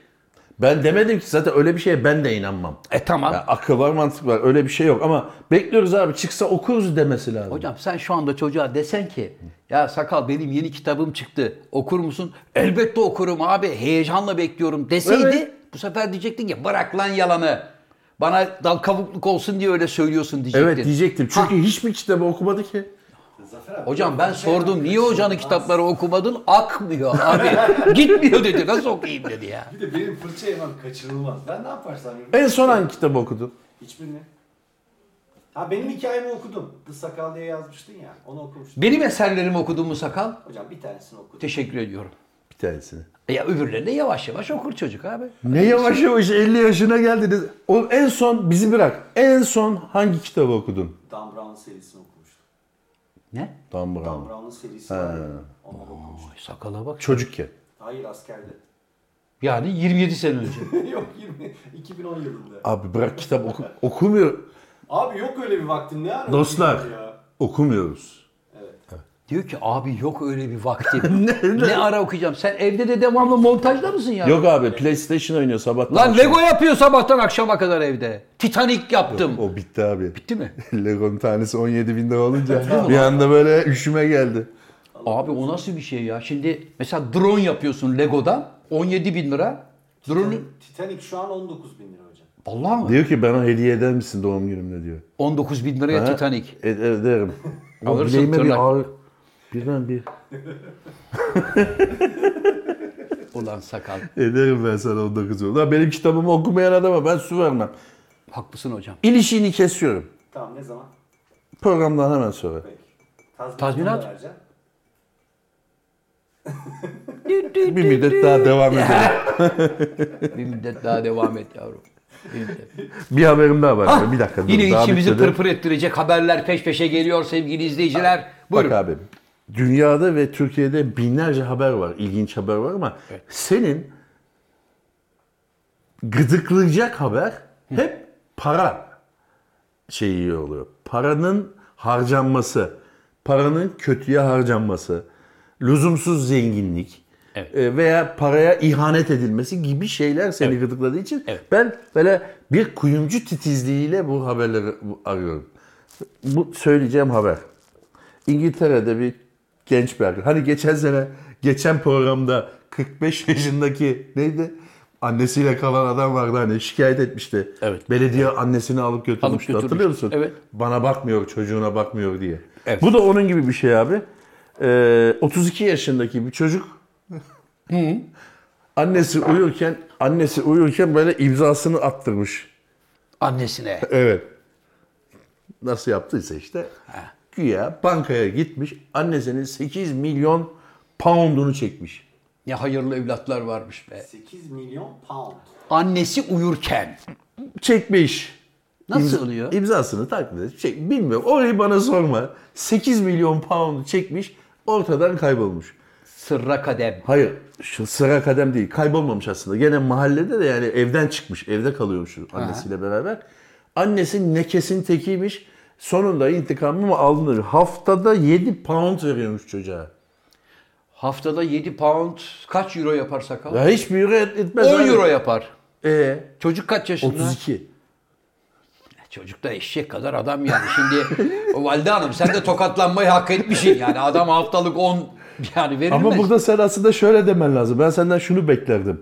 [SPEAKER 2] Ben demedim ki zaten öyle bir şeye ben de inanmam.
[SPEAKER 1] E tamam.
[SPEAKER 2] Ya akıl var mantık var öyle bir şey yok ama bekliyoruz abi çıksa okuruz demesi lazım.
[SPEAKER 1] Hocam sen şu anda çocuğa desen ki ya sakal benim yeni kitabım çıktı okur musun? Elbette okurum abi heyecanla bekliyorum deseydi
[SPEAKER 2] Evet.
[SPEAKER 1] bu sefer diyecektin ki bırak lan yalanı. Bana dal kavukluk olsun diye öyle söylüyorsun diyecektin.
[SPEAKER 2] evet diyecektim
[SPEAKER 1] Ha,
[SPEAKER 2] çünkü hiçbir kitabı okumadı ki.
[SPEAKER 3] Zafer abi. şey
[SPEAKER 1] Hocam ben
[SPEAKER 3] Zafer
[SPEAKER 1] sordum
[SPEAKER 3] abi,
[SPEAKER 1] niye hocanın
[SPEAKER 3] kaçınılmaz.
[SPEAKER 1] kitapları okumadın? Akmıyor abi. Gitmiyor dedi. Nasıl okuyayım dedi ya.
[SPEAKER 3] Bir de benim fırça yemem kaçınılmaz. Ben ne yaparsam yemem.
[SPEAKER 2] En son hangi kitabı okudun?
[SPEAKER 3] Hiçbirini. Ha benim hikayemi okudum. The Sakal diye yazmıştın ya. Onu okumuştum.
[SPEAKER 1] Benim eserlerimi okudun mu sakal?
[SPEAKER 3] Hocam bir tanesini okudum.
[SPEAKER 1] Teşekkür ediyorum.
[SPEAKER 2] Bir tanesini.
[SPEAKER 1] E Ya öbürlerini yavaş yavaş okur çocuk abi.
[SPEAKER 2] Ne yavaş yavaş 50 yaşına geldiniz. O en son bizi bırak. En son hangi kitabı okudun?
[SPEAKER 3] Dan Brown serisini okumuştum.
[SPEAKER 1] Ne?
[SPEAKER 2] Dan Brown.
[SPEAKER 3] Dan Brown'un serisi var. ya, Onu okumuştum.
[SPEAKER 1] Ay sakala bak.
[SPEAKER 2] Çocukken.
[SPEAKER 3] Hayır askerde.
[SPEAKER 1] Yani 27 sene önce.
[SPEAKER 3] yok 20, 2010 yılında.
[SPEAKER 2] Abi bırak kitap oku- okumuyor.
[SPEAKER 3] Abi yok öyle bir vaktin ne ara?
[SPEAKER 2] Dostlar
[SPEAKER 3] Ya.
[SPEAKER 2] okumuyoruz.
[SPEAKER 1] Diyor ki abi yok öyle bir vaktim. ne, ara okuyacağım? Sen evde de devamlı montajda mısın ya?
[SPEAKER 2] Yok abi PlayStation oynuyor sabah.
[SPEAKER 1] Lan Lego yapıyor sabahtan akşama kadar evde. Titanic yaptım.
[SPEAKER 2] O bitti abi.
[SPEAKER 1] Bitti mi?
[SPEAKER 2] Lego'nun tanesi 17 bin lira olunca bir anda böyle üşüme geldi.
[SPEAKER 1] Abi o nasıl bir şey ya? Şimdi mesela drone yapıyorsun Lego'dan. 17 bin lira. Drone'u...
[SPEAKER 3] Titanic şu an 19 bin lira hocam.
[SPEAKER 1] Vallahi mi?
[SPEAKER 2] Diyor ki bana hediye eder misin doğum günümde diyor.
[SPEAKER 1] 19 bin liraya
[SPEAKER 2] Ha?
[SPEAKER 1] Titanic.
[SPEAKER 2] E- ederim. O
[SPEAKER 1] Alırsın
[SPEAKER 2] bileğime
[SPEAKER 1] tırnak.
[SPEAKER 2] bir ağır. Birden bir.
[SPEAKER 1] Ulan sakal.
[SPEAKER 2] Ederim ben sana 19 yıl. Lan benim kitabımı okumayan adama ben su vermem.
[SPEAKER 1] Haklısın hocam.
[SPEAKER 2] İlişiğini kesiyorum.
[SPEAKER 3] Tamam ne zaman?
[SPEAKER 2] Programdan hemen sonra.
[SPEAKER 3] Peki. Tazminat.
[SPEAKER 1] Tazminat?
[SPEAKER 3] vereceğim.
[SPEAKER 2] Bir müddet daha devam edelim.
[SPEAKER 1] Bir müddet daha devam et yavrum. Bir müddet.
[SPEAKER 2] bir haberim daha var. abi. bir dakika. dur,
[SPEAKER 1] Ah, Yine
[SPEAKER 2] daha
[SPEAKER 1] içimizi
[SPEAKER 2] bitmedi.
[SPEAKER 1] pırpır ettirecek haberler peş peşe geliyor sevgili izleyiciler. Buyurun.
[SPEAKER 2] Bak abi. Dünyada ve Türkiye'de binlerce haber var. ilginç haber var ama senin gıdıklayacak haber hep para şeyi oluyor. Paranın harcanması, paranın kötüye harcanması, lüzumsuz zenginlik
[SPEAKER 1] Evet.
[SPEAKER 2] e, veya paraya ihanet edilmesi gibi şeyler seni gıdıkladığı için
[SPEAKER 1] Evet.
[SPEAKER 2] ben böyle bir kuyumcu titizliğiyle bu haberleri bu- arıyorum. Bu söyleyeceğim haber. İngiltere'de bir genç bir arkadaş. Hani geçen sene, geçen programda 45 yaşındaki neydi? Annesiyle kalan adam vardı hani şikayet etmişti.
[SPEAKER 1] Evet.
[SPEAKER 2] Belediye annesini alıp götürmüştü.
[SPEAKER 1] Alıp götürmüş.
[SPEAKER 2] Hatırlıyor musun?
[SPEAKER 1] Evet.
[SPEAKER 2] Bana bakmıyor, çocuğuna bakmıyor diye.
[SPEAKER 1] Evet.
[SPEAKER 2] Bu da onun gibi bir şey abi. Ee, 32 yaşındaki bir çocuk annesi uyurken annesi uyurken böyle imzasını attırmış.
[SPEAKER 1] Annesine.
[SPEAKER 2] Evet. Nasıl yaptıysa işte. Güya bankaya gitmiş. Annesinin 8 milyon poundunu çekmiş.
[SPEAKER 1] Ne hayırlı evlatlar varmış be.
[SPEAKER 3] 8 milyon pound.
[SPEAKER 1] Annesi uyurken.
[SPEAKER 2] Çekmiş.
[SPEAKER 1] Nasıl
[SPEAKER 2] İmza-
[SPEAKER 1] oluyor?
[SPEAKER 2] İmzasını taklit etmiş. Çek, bilmiyorum. Orayı bana sorma. 8 milyon poundu çekmiş. Ortadan kaybolmuş.
[SPEAKER 1] Sırra kadem.
[SPEAKER 2] Hayır. Şu sıra kadem değil. Kaybolmamış aslında. Gene mahallede de yani evden çıkmış. Evde kalıyormuş annesiyle beraber. Annesi nekesin tekiymiş. Sonunda intikamı mı alınır? Haftada 7 pound veriyormuş çocuğa.
[SPEAKER 1] Haftada 7 pound kaç euro yapar sakal?
[SPEAKER 2] Ya hiçbir euro et- etmez.
[SPEAKER 1] 10
[SPEAKER 2] abi.
[SPEAKER 1] euro yapar.
[SPEAKER 2] Ee,
[SPEAKER 1] Çocuk kaç yaşında?
[SPEAKER 2] 32.
[SPEAKER 1] Çocuk da eşek kadar adam yani. Şimdi Valide Hanım sen de tokatlanmayı hak etmişsin yani. Adam haftalık 10 yani verilmez.
[SPEAKER 2] Ama burada sen aslında şöyle demen lazım. Ben senden şunu beklerdim.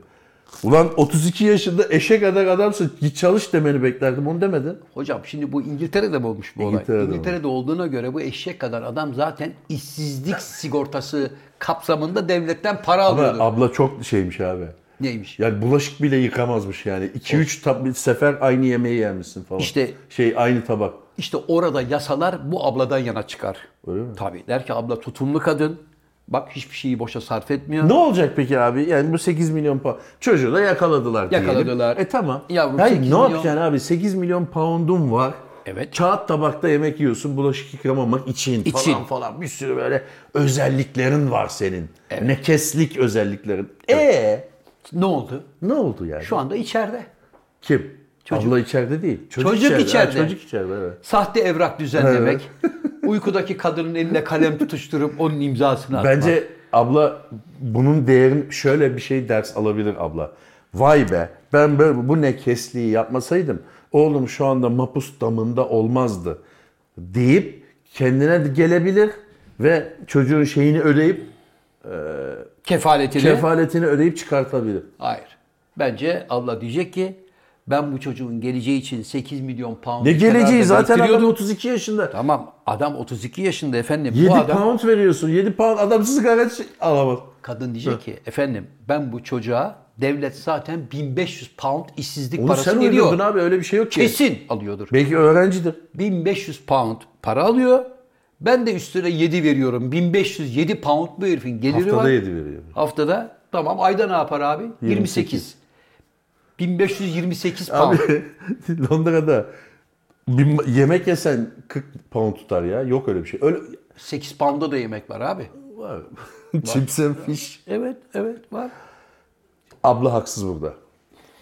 [SPEAKER 2] Ulan 32 yaşında eşek kadar adamsın. Git çalış demeni beklerdim. Onu demedin.
[SPEAKER 1] Hocam şimdi bu İngiltere'de mi olmuş bu olay?
[SPEAKER 2] İngiltere'de
[SPEAKER 1] İngiltere'de, olduğuna göre bu eşek kadar adam zaten işsizlik sigortası kapsamında devletten para
[SPEAKER 2] Ama
[SPEAKER 1] alıyordu.
[SPEAKER 2] abla çok şeymiş abi.
[SPEAKER 1] Neymiş?
[SPEAKER 2] Yani bulaşık bile yıkamazmış yani. 2-3 sefer aynı yemeği yermişsin falan.
[SPEAKER 1] İşte-
[SPEAKER 2] şey aynı tabak.
[SPEAKER 1] İşte orada yasalar bu abladan yana çıkar.
[SPEAKER 2] Öyle mi?
[SPEAKER 1] Tabii der ki abla tutumlu kadın. Bak hiçbir şeyi boşa sarf etmiyor.
[SPEAKER 2] Ne olacak peki abi? Yani bu 8 milyon pound. Çocuğu da yakaladılar diyelim.
[SPEAKER 1] Yakaladılar.
[SPEAKER 2] E tamam.
[SPEAKER 1] Yavrum,
[SPEAKER 2] Hayır,
[SPEAKER 1] 8
[SPEAKER 2] ne
[SPEAKER 1] milyon-
[SPEAKER 2] yapacaksın abi? 8 milyon poundun var.
[SPEAKER 1] Evet.
[SPEAKER 2] Kağıt tabakta yemek yiyorsun bulaşık yıkamamak için,
[SPEAKER 1] İçin.
[SPEAKER 2] falan falan. Bir sürü böyle özelliklerin var senin. Nekeslik özelliklerin. E
[SPEAKER 1] Ne oldu?
[SPEAKER 2] ne oldu yani?
[SPEAKER 1] Şu anda içeride.
[SPEAKER 2] Kim? Abla içeride değil.
[SPEAKER 1] Çocuk
[SPEAKER 2] Ha,
[SPEAKER 1] içeride.
[SPEAKER 2] çocuk içeride evet.
[SPEAKER 1] Sahte evrak düzenlemek. uykudaki kadının eline kalem tutuşturup onun imzasını atmak.
[SPEAKER 2] Bence abla bunun değerini şöyle bir şey ders alabilir abla. Vay be ben böyle bu ne kesliği yapmasaydım oğlum şu anda mapus damında olmazdı deyip kendine de gelebilir ve çocuğun şeyini ödeyip
[SPEAKER 1] kefaletini.
[SPEAKER 2] kefaletini ödeyip çıkartabilir.
[SPEAKER 1] Hayır. Bence abla diyecek ki ben bu çocuğun geleceği için 8 milyon pound
[SPEAKER 2] Ne geleceği
[SPEAKER 1] kenarda
[SPEAKER 2] zaten adam
[SPEAKER 1] biriktiriyordum.
[SPEAKER 2] 32 yaşında.
[SPEAKER 1] Tamam adam 32 yaşında efendim.
[SPEAKER 2] 7
[SPEAKER 1] bu adam
[SPEAKER 2] pound veriyorsun. 7 pound adam sigaret şey alamaz.
[SPEAKER 1] kadın diyecek ki efendim ben bu çocuğa devlet zaten 1500 pound işsizlik
[SPEAKER 2] Onu
[SPEAKER 1] parası
[SPEAKER 2] sen uydurdun
[SPEAKER 1] veriyor.
[SPEAKER 2] abi öyle bir şey yok ki.
[SPEAKER 1] Kesin alıyordur.
[SPEAKER 2] Belki öğrencidir.
[SPEAKER 1] 1500 pound para alıyor. Ben de üstüne 7 veriyorum. 1507 pound bu herifin geliri var.
[SPEAKER 2] Haftada 7 veriyor.
[SPEAKER 1] Haftada. Tamam ayda ne yapar abi? 28. 1528 pound.
[SPEAKER 2] Abi Londra'da bir yemek yesen 40 pound tutar ya. Yok öyle bir şey. Öyle
[SPEAKER 1] 8 pound'a da yemek var abi.
[SPEAKER 2] var. Chips and fish.
[SPEAKER 1] Evet, evet var.
[SPEAKER 2] Abla haksız burada.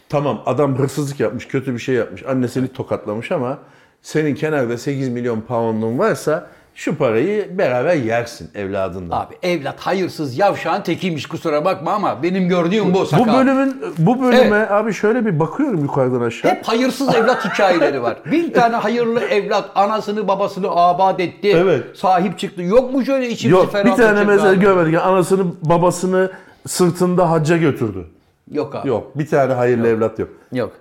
[SPEAKER 2] Tamam adam hırsızlık yapmış, kötü bir şey yapmış. Annesini tokatlamış ama senin kenarda 8 milyon pound'un varsa şu parayı beraber yersin evladınla.
[SPEAKER 1] Abi evlat hayırsız yavşağın tekiymiş kusura bakma ama benim gördüğüm bu sakal.
[SPEAKER 2] Bu bölümün bu bölüme
[SPEAKER 1] Evet.
[SPEAKER 2] abi şöyle bir bakıyorum yukarıdan aşağı.
[SPEAKER 1] Hep hayırsız evlat hikayeleri var. Bir tane hayırlı evlat anasını babasını abat etti.
[SPEAKER 2] Evet.
[SPEAKER 1] Sahip çıktı. Yok mu şöyle içimci
[SPEAKER 2] Yok bir tane
[SPEAKER 1] ferahlatacak
[SPEAKER 2] mesela
[SPEAKER 1] abi?
[SPEAKER 2] görmedik. Anasını babasını sırtında hacca götürdü.
[SPEAKER 1] Yok abi. Yok.
[SPEAKER 2] Yok bir tane hayırlı evlat yok.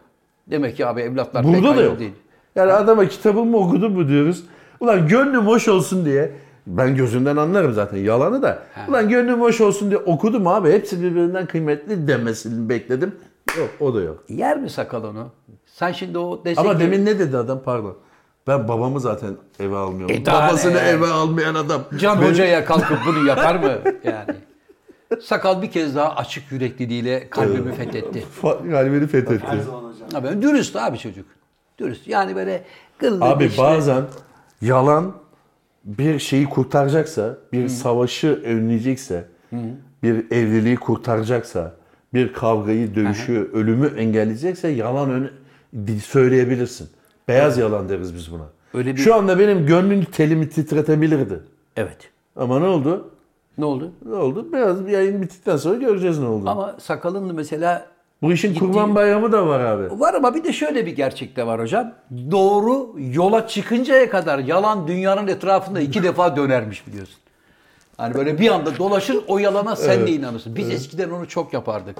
[SPEAKER 1] Demek ki abi evlatlar pek
[SPEAKER 2] Burada da
[SPEAKER 1] hayırlı
[SPEAKER 2] yok.
[SPEAKER 1] değil.
[SPEAKER 2] Yani adama kitabımı mı okudun mu diyoruz. Ulan gönlüm hoş olsun diye. Ben gözünden anlarım zaten yalanı da. Ulan gönlüm hoş olsun diye okudum abi. Hepsi birbirinden kıymetli demesini bekledim. Yok o da yok.
[SPEAKER 1] Yer mi sakal onu? Sen şimdi o desek
[SPEAKER 2] Ama
[SPEAKER 1] ki-
[SPEAKER 2] demin ne dedi adam pardon. Ben babamı zaten eve almıyorum.
[SPEAKER 1] E daha
[SPEAKER 2] Babasını
[SPEAKER 1] ne?
[SPEAKER 2] eve almayan adam.
[SPEAKER 1] Can
[SPEAKER 2] Benim-
[SPEAKER 1] Hoca'ya kalkıp bunu yapar mı? Yani. Sakal bir kez daha açık yürekliliğiyle kalbimi fethetti.
[SPEAKER 2] Fa- Kalbini fethetti.
[SPEAKER 3] Her zaman hocam.
[SPEAKER 1] Ya ben dürüst abi çocuk. Dürüst. Yani böyle kıllı
[SPEAKER 2] Abi
[SPEAKER 1] işte-
[SPEAKER 2] bazen yalan bir şeyi kurtaracaksa, bir savaşı önleyecekse, bir evliliği kurtaracaksa, bir kavgayı, dövüşü, ölümü engelleyecekse yalan öne- di- söyleyebilirsin. Beyaz yalan deriz biz buna.
[SPEAKER 1] Öyle bir-
[SPEAKER 2] Şu anda benim gönlün telimi titretebilirdi.
[SPEAKER 1] Evet.
[SPEAKER 2] Ama ne oldu?
[SPEAKER 1] Ne oldu?
[SPEAKER 2] Ne oldu? Biraz bir yayın bittikten sonra göreceğiz ne oldu.
[SPEAKER 1] Ama sakalın mesela
[SPEAKER 2] Bu işin kurban bayramı da var abi.
[SPEAKER 1] var ama bir de şöyle bir gerçek de var hocam. Doğru yola çıkıncaya kadar yalan dünyanın etrafında iki defa dönermiş biliyorsun. Hani böyle bir anda dolaşır o yalana sen de inanırsın. Biz eskiden onu çok yapardık.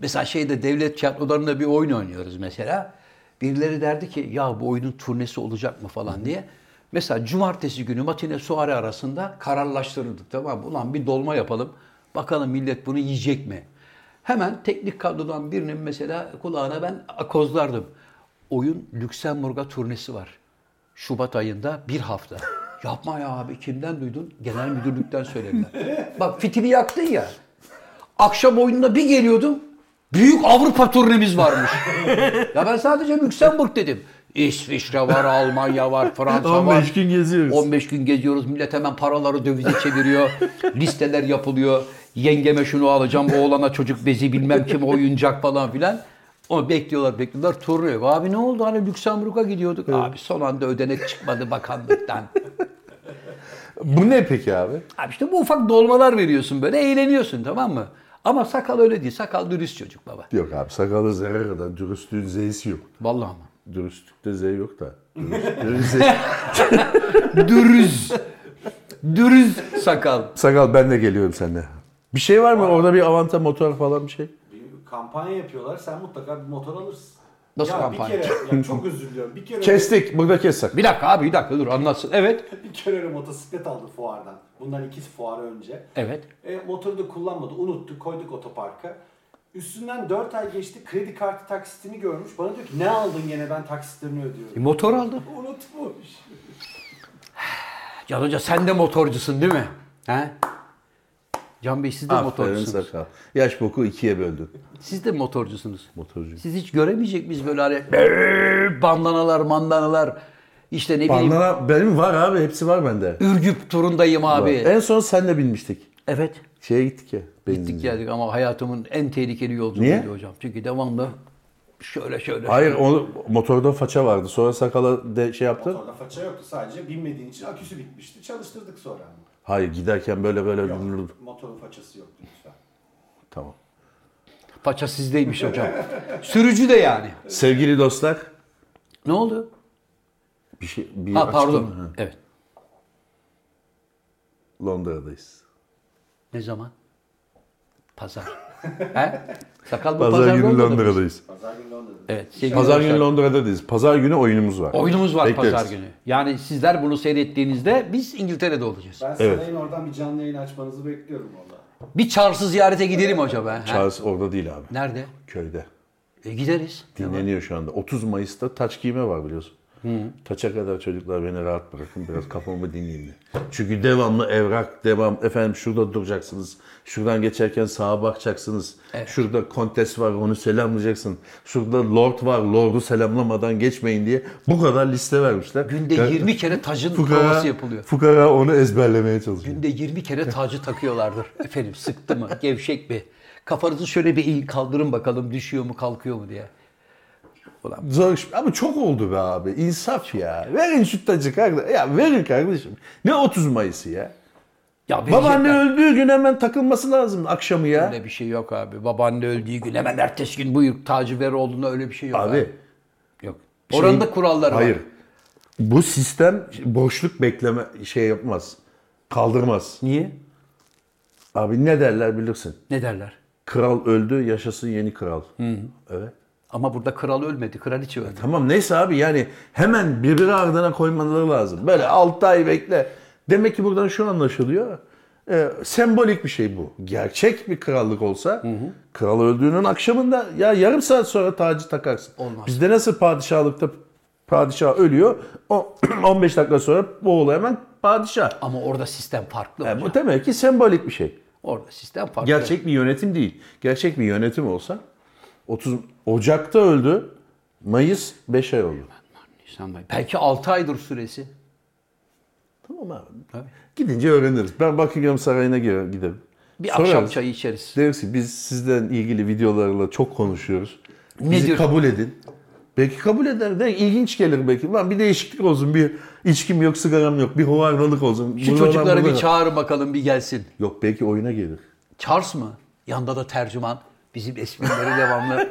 [SPEAKER 1] Mesela şeyde devlet tiyatrolarında bir oyun oynuyoruz mesela. Birileri derdi ki ya bu oyunun turnesi olacak mı falan diye. Mesela cumartesi günü matine suare arasında kararlaştırırdık tamam mı? Ulan bir dolma yapalım. Bakalım millet bunu yiyecek mi? Hemen teknik kadrodan birinin mesela kulağına ben akozlardım. Oyun Lüksemburg'a turnesi var. Şubat ayında bir hafta. Yapma ya abi kimden duydun? Genel müdürlükten söylediler. Bak fitili yaktın ya. Akşam oyununa bir geliyordum. Büyük Avrupa turnemiz varmış. ya ben sadece Lüksemburg dedim. İsviçre var, Almanya var, Fransa var.
[SPEAKER 2] 15 gün geziyoruz.
[SPEAKER 1] 15 gün geziyoruz. Millet hemen paraları dövize çeviriyor. Listeler yapılıyor. Yengeme şunu alacağım. Oğlana çocuk bezi bilmem kim oyuncak falan filan. Onu bekliyorlar bekliyorlar. Turnu yok. Abi ne oldu? Hani Lüksemburg'a gidiyorduk. Abi son anda ödenek çıkmadı bakanlıktan.
[SPEAKER 2] Bu ne peki abi?
[SPEAKER 1] Abi işte bu ufak dolmalar veriyorsun böyle. Eğleniyorsun tamam mı? Ama sakal öyle değil. Sakal dürüst çocuk baba.
[SPEAKER 2] Yok abi sakalı zerre kadar dürüstlüğün zeysi yok.
[SPEAKER 1] Vallahi ama.
[SPEAKER 2] Dürüstlükte Z yok da. Dürüst- zey-
[SPEAKER 1] Dürüz. Dürüz sakal.
[SPEAKER 2] Sakal ben de geliyorum seninle. Bir şey var mı? Orada bir avanta motor falan bir şey.
[SPEAKER 3] Bir kampanya yapıyorlar. Sen mutlaka bir motor alırsın.
[SPEAKER 1] Nasıl
[SPEAKER 3] ya
[SPEAKER 1] kampanya?
[SPEAKER 3] Bir kere, ya çok özür diliyorum. Bir kere,
[SPEAKER 2] Kestik. Burada kes sakal.
[SPEAKER 1] Bir dakika abi bir dakika dur anlatsın. Evet.
[SPEAKER 3] bir kere öyle motosiklet aldı fuardan. Bundan iki fuar önce.
[SPEAKER 1] Evet.
[SPEAKER 3] E, motoru da kullanmadı. Unuttu. Koyduk otoparka. Üstünden 4 ay geçti. Kredi kartı taksitini görmüş. Bana diyor ki ne aldın gene ben taksitlerini
[SPEAKER 1] E,
[SPEAKER 3] ödüyorum.
[SPEAKER 1] motor aldı.
[SPEAKER 3] Unutmuş.
[SPEAKER 1] Can Hoca sen de motorcusun değil mi? He? Can Bey siz de
[SPEAKER 2] Aferin
[SPEAKER 1] motorcusunuz.
[SPEAKER 2] sakal. Yaş boku ikiye böldün.
[SPEAKER 1] Siz de motorcusunuz.
[SPEAKER 2] Motorcu.
[SPEAKER 1] Siz hiç göremeyecek biz böyle hani bandanalar, mandanalar. işte ne bileyim
[SPEAKER 2] Bandana benim var abi. Hepsi var bende.
[SPEAKER 1] Ürgüp turundayım abi.
[SPEAKER 2] En son senle binmiştik.
[SPEAKER 1] Evet.
[SPEAKER 2] Şeye gittik ya. benzinci.
[SPEAKER 1] Gittik geldik ama hayatımın en tehlikeli
[SPEAKER 2] Niye?
[SPEAKER 1] yolculuğuydu hocam. Çünkü devamlı şöyle şöyle.
[SPEAKER 2] Hayır o motorda faça vardı. Sonra sakala de şey yaptı.
[SPEAKER 3] Motorda faça yoktu. Sadece binmediğin için aküsü bitmişti. Çalıştırdık sonra.
[SPEAKER 2] Hayır giderken böyle böyle dururdu.
[SPEAKER 3] Motorun façası yoktu lütfen.
[SPEAKER 2] Tamam.
[SPEAKER 1] Paça sizdeymiş hocam. Sürücü de yani.
[SPEAKER 2] Sevgili dostlar
[SPEAKER 1] Ne oldu?
[SPEAKER 2] bir şey bir
[SPEAKER 1] Ha pardon.
[SPEAKER 2] açıklama-
[SPEAKER 1] Evet.
[SPEAKER 2] Londra'dayız.
[SPEAKER 1] Ne zaman? Pazar. He? Sakal bu
[SPEAKER 2] Pazar,
[SPEAKER 1] pazar,
[SPEAKER 2] günü
[SPEAKER 1] olmadı mı?
[SPEAKER 2] Londra'dayız.
[SPEAKER 3] Pazar günü Londra'da.
[SPEAKER 1] Evet. sevgili
[SPEAKER 2] Pazar
[SPEAKER 1] dostlar.
[SPEAKER 2] günü Londra'dayız. Pazar günü oyunumuz var.
[SPEAKER 1] Oyunumuz var
[SPEAKER 2] Bekleriz.
[SPEAKER 1] pazar günü. Yani sizler bunu seyrettiğinizde biz İngiltere'de olacağız.
[SPEAKER 3] Ben
[SPEAKER 2] Evet.
[SPEAKER 3] sarayın oradan bir canlı yayın açmanızı bekliyorum valla.
[SPEAKER 1] Bir çarşı ziyarete gidelim acaba. he?
[SPEAKER 2] Charles orada değil abi.
[SPEAKER 1] Nerede?
[SPEAKER 2] Köyde.
[SPEAKER 1] E, gideriz.
[SPEAKER 2] Dinleniyor şu anda. 30 Mayıs'ta taç giyme var biliyorsun. Taça kadar çocuklar beni rahat bırakın biraz kafamı dinleyeyim diye. Çünkü devamlı evrak, devam efendim şurada duracaksınız. Şuradan geçerken sağa bakacaksınız. Şurada kontes var onu selamlayacaksın. Şurada lord var lordu selamlamadan geçmeyin diye bu kadar liste vermişler.
[SPEAKER 1] Günde
[SPEAKER 2] Ya,
[SPEAKER 1] 20 kere tacın provası yapılıyor.
[SPEAKER 2] Fukara onu ezberlemeye çalışıyor.
[SPEAKER 1] Günde 20 kere tacı takıyorlardır. Efendim sıktı mı? Gevşek mi? Kafanızı şöyle bir eğin kaldırın bakalım düşüyor mu kalkıyor mu diye.
[SPEAKER 2] Zor iş. Ama çok oldu be abi. İnsaf ya. Verin şu tacı kardeşim. Ya verin kardeşim. Ne 30 Mayıs'ı ya?
[SPEAKER 1] Ya
[SPEAKER 2] Babaanne
[SPEAKER 1] verecekler.
[SPEAKER 2] öldüğü gün hemen takılması lazım akşamı ya.
[SPEAKER 1] Öyle bir şey yok abi. Babaanne öldüğü gün hemen ertesi gün buyur tacı ver olduğuna öyle bir şey yok.
[SPEAKER 2] Abi
[SPEAKER 1] Yok. Oranda
[SPEAKER 2] şey-
[SPEAKER 1] kuralları var.
[SPEAKER 2] hayır. Bu sistem boşluk bekleme şey yapmaz. Kaldırmaz.
[SPEAKER 1] Niye?
[SPEAKER 2] Abi ne derler bilirsin.
[SPEAKER 1] Ne derler?
[SPEAKER 2] Kral öldü, yaşasın yeni kral. Evet.
[SPEAKER 1] Ama burada kral ölmedi. Kraliçe öldü.
[SPEAKER 2] Tamam neyse abi yani hemen birbiri ardına koymaları lazım. Böyle 6 ay bekle. Demek ki buradan şu anlaşılıyor. e, sembolik bir şey bu. Gerçek bir krallık olsa kral öldüğünün akşamında ya yarım saat sonra tacı takarsın.
[SPEAKER 1] Olmaz.
[SPEAKER 2] Bizde nasıl padişahlıkta padişah ölüyor. O 15 dakika sonra oğlu hemen padişah.
[SPEAKER 1] Ama orada sistem farklı.
[SPEAKER 2] Yani
[SPEAKER 1] hocam.
[SPEAKER 2] bu demek ki sembolik bir şey.
[SPEAKER 1] Orada sistem farklı.
[SPEAKER 2] Gerçek bir yönetim değil. Gerçek bir yönetim olsa 30 Ocak'ta öldü. Mayıs 5 ay oldu.
[SPEAKER 1] Nisan Bey. Belki 6 aydır süresi.
[SPEAKER 2] Tamam abi.
[SPEAKER 1] Tabii.
[SPEAKER 2] Gidince öğreniriz. Ben Buckingham Sarayı'na gi- giderim.
[SPEAKER 1] Bir
[SPEAKER 2] Sorarız.
[SPEAKER 1] akşam çayı içeriz.
[SPEAKER 2] Deriz ki biz sizden ilgili videolarla çok konuşuyoruz. Bizi
[SPEAKER 1] Nedir?
[SPEAKER 2] kabul edin. Belki kabul eder de ilginç gelir belki. Lan bir değişiklik olsun. Bir içkim yok, sigaram yok. Bir hovardalık olsun.
[SPEAKER 1] Şu
[SPEAKER 2] Bunlardan
[SPEAKER 1] çocukları bir
[SPEAKER 2] bunlara-
[SPEAKER 1] çağırın bakalım bir gelsin.
[SPEAKER 2] Yok belki oyuna gelir.
[SPEAKER 1] Charles mı? Yanda da tercüman. Bizim esmileri devamlı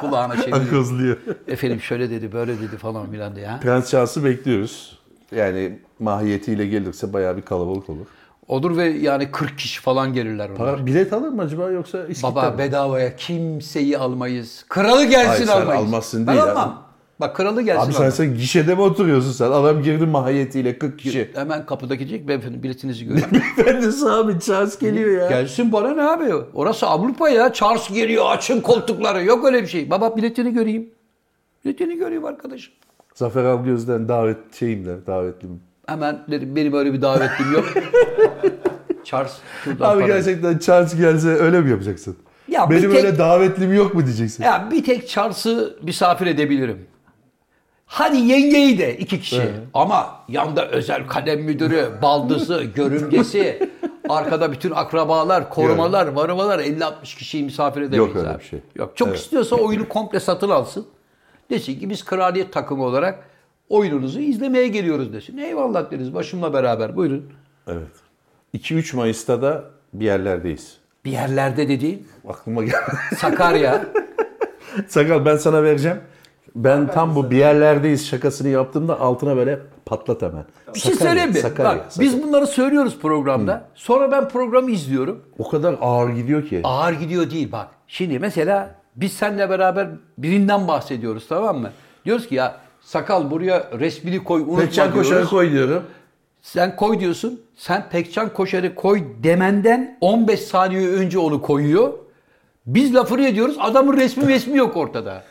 [SPEAKER 1] kulağına çeviriyor.
[SPEAKER 2] Akızlıyor.
[SPEAKER 1] Efendim şöyle dedi, böyle dedi falan filan diye. ha?
[SPEAKER 2] Prens Charles'ı bekliyoruz. Yani mahiyetiyle gelirse bayağı bir kalabalık olur.
[SPEAKER 1] Olur ve yani 40 kişi falan gelirler onlar.
[SPEAKER 2] Para, bilet alır mı acaba yoksa iskitler
[SPEAKER 1] Baba
[SPEAKER 2] mi?
[SPEAKER 1] bedavaya kimseyi almayız. Kralı gelsin
[SPEAKER 2] Hayır, sen
[SPEAKER 1] almayız.
[SPEAKER 2] almazsın
[SPEAKER 1] ben
[SPEAKER 2] değil
[SPEAKER 1] almam.
[SPEAKER 2] abi.
[SPEAKER 1] Bak kralı gelsin
[SPEAKER 2] Abi sen,
[SPEAKER 1] almayız.
[SPEAKER 2] sen gişede mi oturuyorsun sen? Adam girdi mahiyetiyle 40 kişi.
[SPEAKER 1] Hemen kapıdaki diyecek beyefendi biletinizi görüyorum.
[SPEAKER 2] ben de abi Charles geliyor ya.
[SPEAKER 1] gelsin bana ne abi? Orası Avrupa ya. Charles geliyor açın koltukları. Yok öyle bir şey. Baba biletini göreyim. Biletini göreyim arkadaşım.
[SPEAKER 2] Zafer Algöz'den davet şeyim de davetlim.
[SPEAKER 1] Hemen dedim benim öyle bir davetlim yok. Charles şuradan
[SPEAKER 2] Abi
[SPEAKER 1] para-
[SPEAKER 2] gerçekten Charles gelse öyle mi yapacaksın?
[SPEAKER 1] Ya bir
[SPEAKER 2] Benim
[SPEAKER 1] tek-
[SPEAKER 2] öyle davetlim yok mu diyeceksin?
[SPEAKER 1] Ya bir tek Charles'ı misafir edebilirim. Hadi yengeyi de iki kişi. Ama yanda özel kalem müdürü, baldızı, görümcesi, arkada bütün akrabalar, korumalar, varıvalar 50-60 kişiyi misafir edemeyiz
[SPEAKER 2] Yok öyle
[SPEAKER 1] abi.
[SPEAKER 2] bir şey.
[SPEAKER 1] Yok. Çok istiyorsa oyunu komple satın alsın. Desin ki biz kraliyet takımı olarak oyununuzu izlemeye geliyoruz desin. Eyvallah deriz başımla beraber buyurun.
[SPEAKER 2] Evet. 2-3 Mayıs'ta da bir yerlerdeyiz.
[SPEAKER 1] Bir yerlerde dediğin
[SPEAKER 2] Aklıma geldi.
[SPEAKER 1] Sakarya.
[SPEAKER 2] Sakal ben sana vereceğim. Ben tam bu bir yerlerdeyiz şakasını yaptığımda altına böyle patlat hemen.
[SPEAKER 1] Bir şey
[SPEAKER 2] Sakarya,
[SPEAKER 1] söyleyeyim mi?
[SPEAKER 2] Sakarya,
[SPEAKER 1] Bak,
[SPEAKER 2] Sakarya.
[SPEAKER 1] biz bunları söylüyoruz programda. Sonra ben programı izliyorum.
[SPEAKER 2] O kadar ağır gidiyor ki.
[SPEAKER 1] Ağır gidiyor değil bak. Şimdi mesela biz seninle beraber birinden bahsediyoruz tamam mı? Diyoruz ki ya sakal buraya resmini koy unutma
[SPEAKER 2] Peçen
[SPEAKER 1] diyoruz.
[SPEAKER 2] koşar koy diyorum.
[SPEAKER 1] Sen koy diyorsun. Sen Pekcan Koşar'ı koy demenden 15 saniye önce onu koyuyor. Biz lafını ediyoruz. Adamın resmi resmi yok ortada.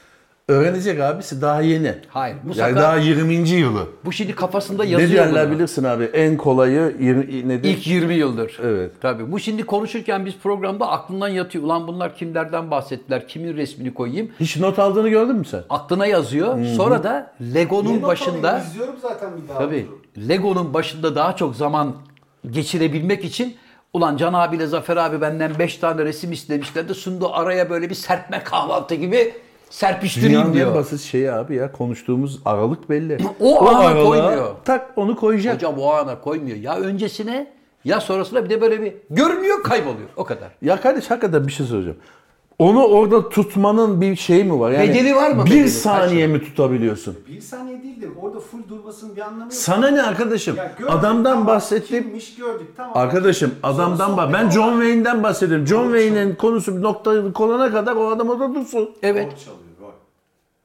[SPEAKER 2] Öğrenecek abisi daha yeni.
[SPEAKER 1] Hayır, bu
[SPEAKER 2] yani
[SPEAKER 1] sakal-
[SPEAKER 2] daha 20. yılı.
[SPEAKER 1] Bu şimdi kafasında yazıyor.
[SPEAKER 2] Ne diyenler
[SPEAKER 1] bunu.
[SPEAKER 2] bilirsin abi en kolayı yirmi- nedir?
[SPEAKER 1] İlk 20 yıldır.
[SPEAKER 2] Evet.
[SPEAKER 1] Tabii. Bu şimdi konuşurken biz programda aklından yatıyor. Ulan bunlar kimlerden bahsettiler? Kimin resmini koyayım?
[SPEAKER 2] Hiç not aldığını gördün mü sen?
[SPEAKER 1] Aklına yazıyor. Sonra da Lego'nun
[SPEAKER 3] Yeni
[SPEAKER 1] başında
[SPEAKER 3] noktaları izliyorum zaten bir daha.
[SPEAKER 1] tabii
[SPEAKER 3] oturup.
[SPEAKER 1] Lego'nun başında daha çok zaman geçirebilmek için ulan Can abiyle Zafer abi benden 5 tane resim istemişlerdi. Sundu araya böyle bir serpme kahvaltı gibi serpiştireyim
[SPEAKER 2] Dünyanın en
[SPEAKER 1] diyor.
[SPEAKER 2] basit şeyi abi ya konuştuğumuz aralık belli.
[SPEAKER 1] O ana
[SPEAKER 2] aralığa
[SPEAKER 1] koymuyor.
[SPEAKER 2] Tak onu koyacak.
[SPEAKER 1] Hocam o ana koymuyor. Ya öncesine ya sonrasına bir de böyle bir görünüyor kayboluyor. O kadar.
[SPEAKER 2] Ya kardeş hakikaten bir şey söyleyeceğim. Onu orada tutmanın bir şeyi mi var? Yani
[SPEAKER 1] Bedeli var mı
[SPEAKER 2] Bir
[SPEAKER 1] bedeli? Kaç
[SPEAKER 2] saniye mi tutabiliyorsun?
[SPEAKER 3] Bir saniye değildi. Orada full durmasının bir anlamı yok.
[SPEAKER 2] Sana ne arkadaşım?
[SPEAKER 3] Ya gördük,
[SPEAKER 2] Adamdan
[SPEAKER 3] tamam,
[SPEAKER 2] bahsettiğim
[SPEAKER 3] Kimmiş gördük tamam.
[SPEAKER 2] Arkadaşım adamdan bak. Ben John Wayne'den bahsediyorum. John Wayne'in konusu bir noktayı konana kadar o adam orada dursun.
[SPEAKER 1] Evet.
[SPEAKER 3] Rol çalıyor rol.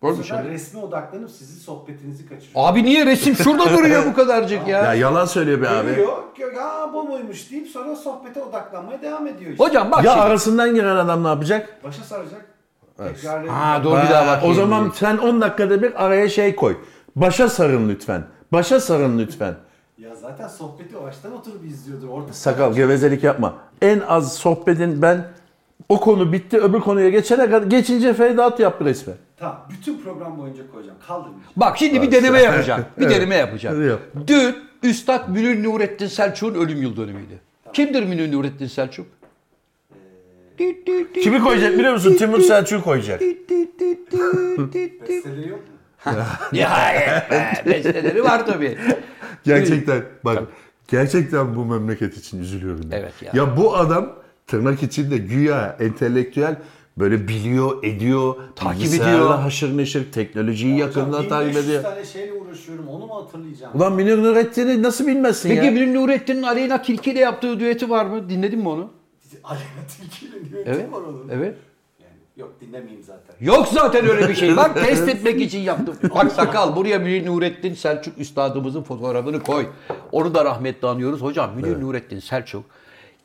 [SPEAKER 1] Rol
[SPEAKER 3] Bu
[SPEAKER 1] mü
[SPEAKER 3] sefer
[SPEAKER 2] şey.
[SPEAKER 1] çalıyor?
[SPEAKER 3] resme odaklanıp sizin sohbetinizi kaçırıyor.
[SPEAKER 1] Abi niye resim şurada duruyor bu kadarcık
[SPEAKER 2] Ya
[SPEAKER 1] ya?
[SPEAKER 2] yalan söylüyor be abi.
[SPEAKER 3] Görüyor, gö- aa bu muymuş deyip sonra sohbete odaklanmaya devam ediyor işte.
[SPEAKER 1] Hocam bak
[SPEAKER 2] Ya
[SPEAKER 1] şimdi.
[SPEAKER 2] arasından giren adam ne yapacak?
[SPEAKER 3] Başa saracak. Tekrar
[SPEAKER 1] Ha doğru bir daha
[SPEAKER 2] Ha,
[SPEAKER 1] bakayım.
[SPEAKER 2] o zaman sen 10 dakikada bir araya şey koy. Başa sarın lütfen. Başa sarın lütfen.
[SPEAKER 3] Ya zaten sohbeti o baştan oturup izliyordur. Orada
[SPEAKER 2] Sakal gevezelik yapma. En az sohbetin ben o konu bitti öbür konuya geçene kadar geçince fade out yap resmen.
[SPEAKER 3] Tamam bütün program boyunca koyacağım. Kaldırmayacağım.
[SPEAKER 1] Bak şimdi bir deneme yapacağım. Bir
[SPEAKER 2] Evet.
[SPEAKER 1] deneme yapacağım.
[SPEAKER 2] Hadi yap.
[SPEAKER 1] Dün Üstad Münir Nurettin Selçuk'un ölüm yıl dönümüydü. Kimdir Münir Nurettin Selçuk? Dü dü dü
[SPEAKER 2] Kimi
[SPEAKER 1] dü
[SPEAKER 2] koyacak biliyor musun? Timur Selçuk'u koyacak.
[SPEAKER 1] dü dü dü dü dü dü.
[SPEAKER 3] Besteleri yok mu?
[SPEAKER 1] Nihayet be, besteleri var tabii.
[SPEAKER 2] Gerçekten bak gerçekten bu memleket için üzülüyorum. ya.
[SPEAKER 1] Evet ya.
[SPEAKER 2] Ya bu adam tırnak içinde güya entelektüel böyle biliyor, ediyor,
[SPEAKER 1] Takip
[SPEAKER 2] bilgisayarla
[SPEAKER 1] ediyor.
[SPEAKER 2] haşır neşir, teknolojiyi yakından
[SPEAKER 3] Hocam,
[SPEAKER 2] takip
[SPEAKER 3] 1500
[SPEAKER 2] ediyor.
[SPEAKER 3] tane şeyle uğraşıyorum onu mu hatırlayacağım?
[SPEAKER 2] Ulan Münir Nurettin'i nasıl bilmezsin
[SPEAKER 1] Peki
[SPEAKER 2] ya?
[SPEAKER 1] Münir Nurettin'in Aleyna Tilki ile yaptığı düeti var mı? Dinledin mi onu?
[SPEAKER 3] Aleyna Tilki ile niye
[SPEAKER 1] Evet.
[SPEAKER 3] var onun?
[SPEAKER 1] Evet.
[SPEAKER 3] Yani, yok dinlemeyeyim zaten.
[SPEAKER 1] Yok zaten öyle bir şey. Bak test etmek için yaptım. Bak sakal buraya Münir Nurettin Selçuk üstadımızın fotoğrafını koy. Onu da rahmetle anıyoruz. Hocam Münir Nurettin Selçuk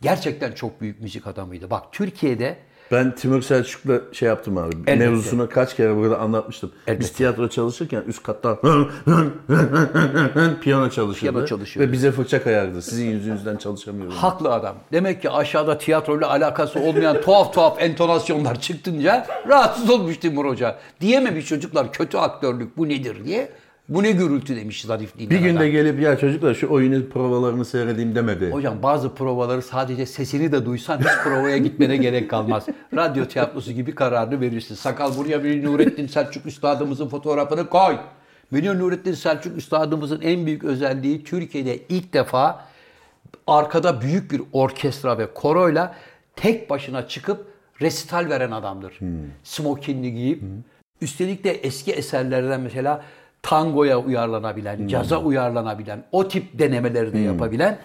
[SPEAKER 1] gerçekten çok büyük müzik adamıydı. Bak Türkiye'de
[SPEAKER 2] Ben Timur Selçuk'la şey yaptım abi.
[SPEAKER 1] Elbette.
[SPEAKER 2] Mevzusunu kaç kere burada anlatmıştım. Biz tiyatro çalışırken üst katta piyano çalışırdı.
[SPEAKER 1] Piyano çalışıyordu.
[SPEAKER 2] Ve bize fırça kayardı. Sizin yüzünüzden çalışamıyorum.
[SPEAKER 1] haklı adam. Demek ki aşağıda tiyatroyla alakası olmayan tuhaf tuhaf entonasyonlar çıktınca rahatsız olmuş Timur Hoca. Diyememiş çocuklar kötü aktörlük bu nedir diye. Bu ne gürültü demiş zarifliğinden
[SPEAKER 2] Bir gün de
[SPEAKER 1] adam.
[SPEAKER 2] gelip ya çocuklar şu oyunun provalarını seyredeyim demedi.
[SPEAKER 1] Hocam bazı provaları sadece sesini de duysan hiç provaya gitmene gerek kalmaz. Radyo tiyatrosu gibi kararını verirsin. Sakal buraya bir Nurettin Selçuk Üstadımızın fotoğrafını koy. Münir Nurettin Selçuk Üstadımızın en büyük özelliği Türkiye'de ilk defa arkada büyük bir orkestra ve koroyla tek başına çıkıp resital veren adamdır. Smokinli giyip. Üstelik de eski eserlerden mesela tangoya uyarlanabilen, caza uyarlanabilen, o tip denemeleri de yapabilen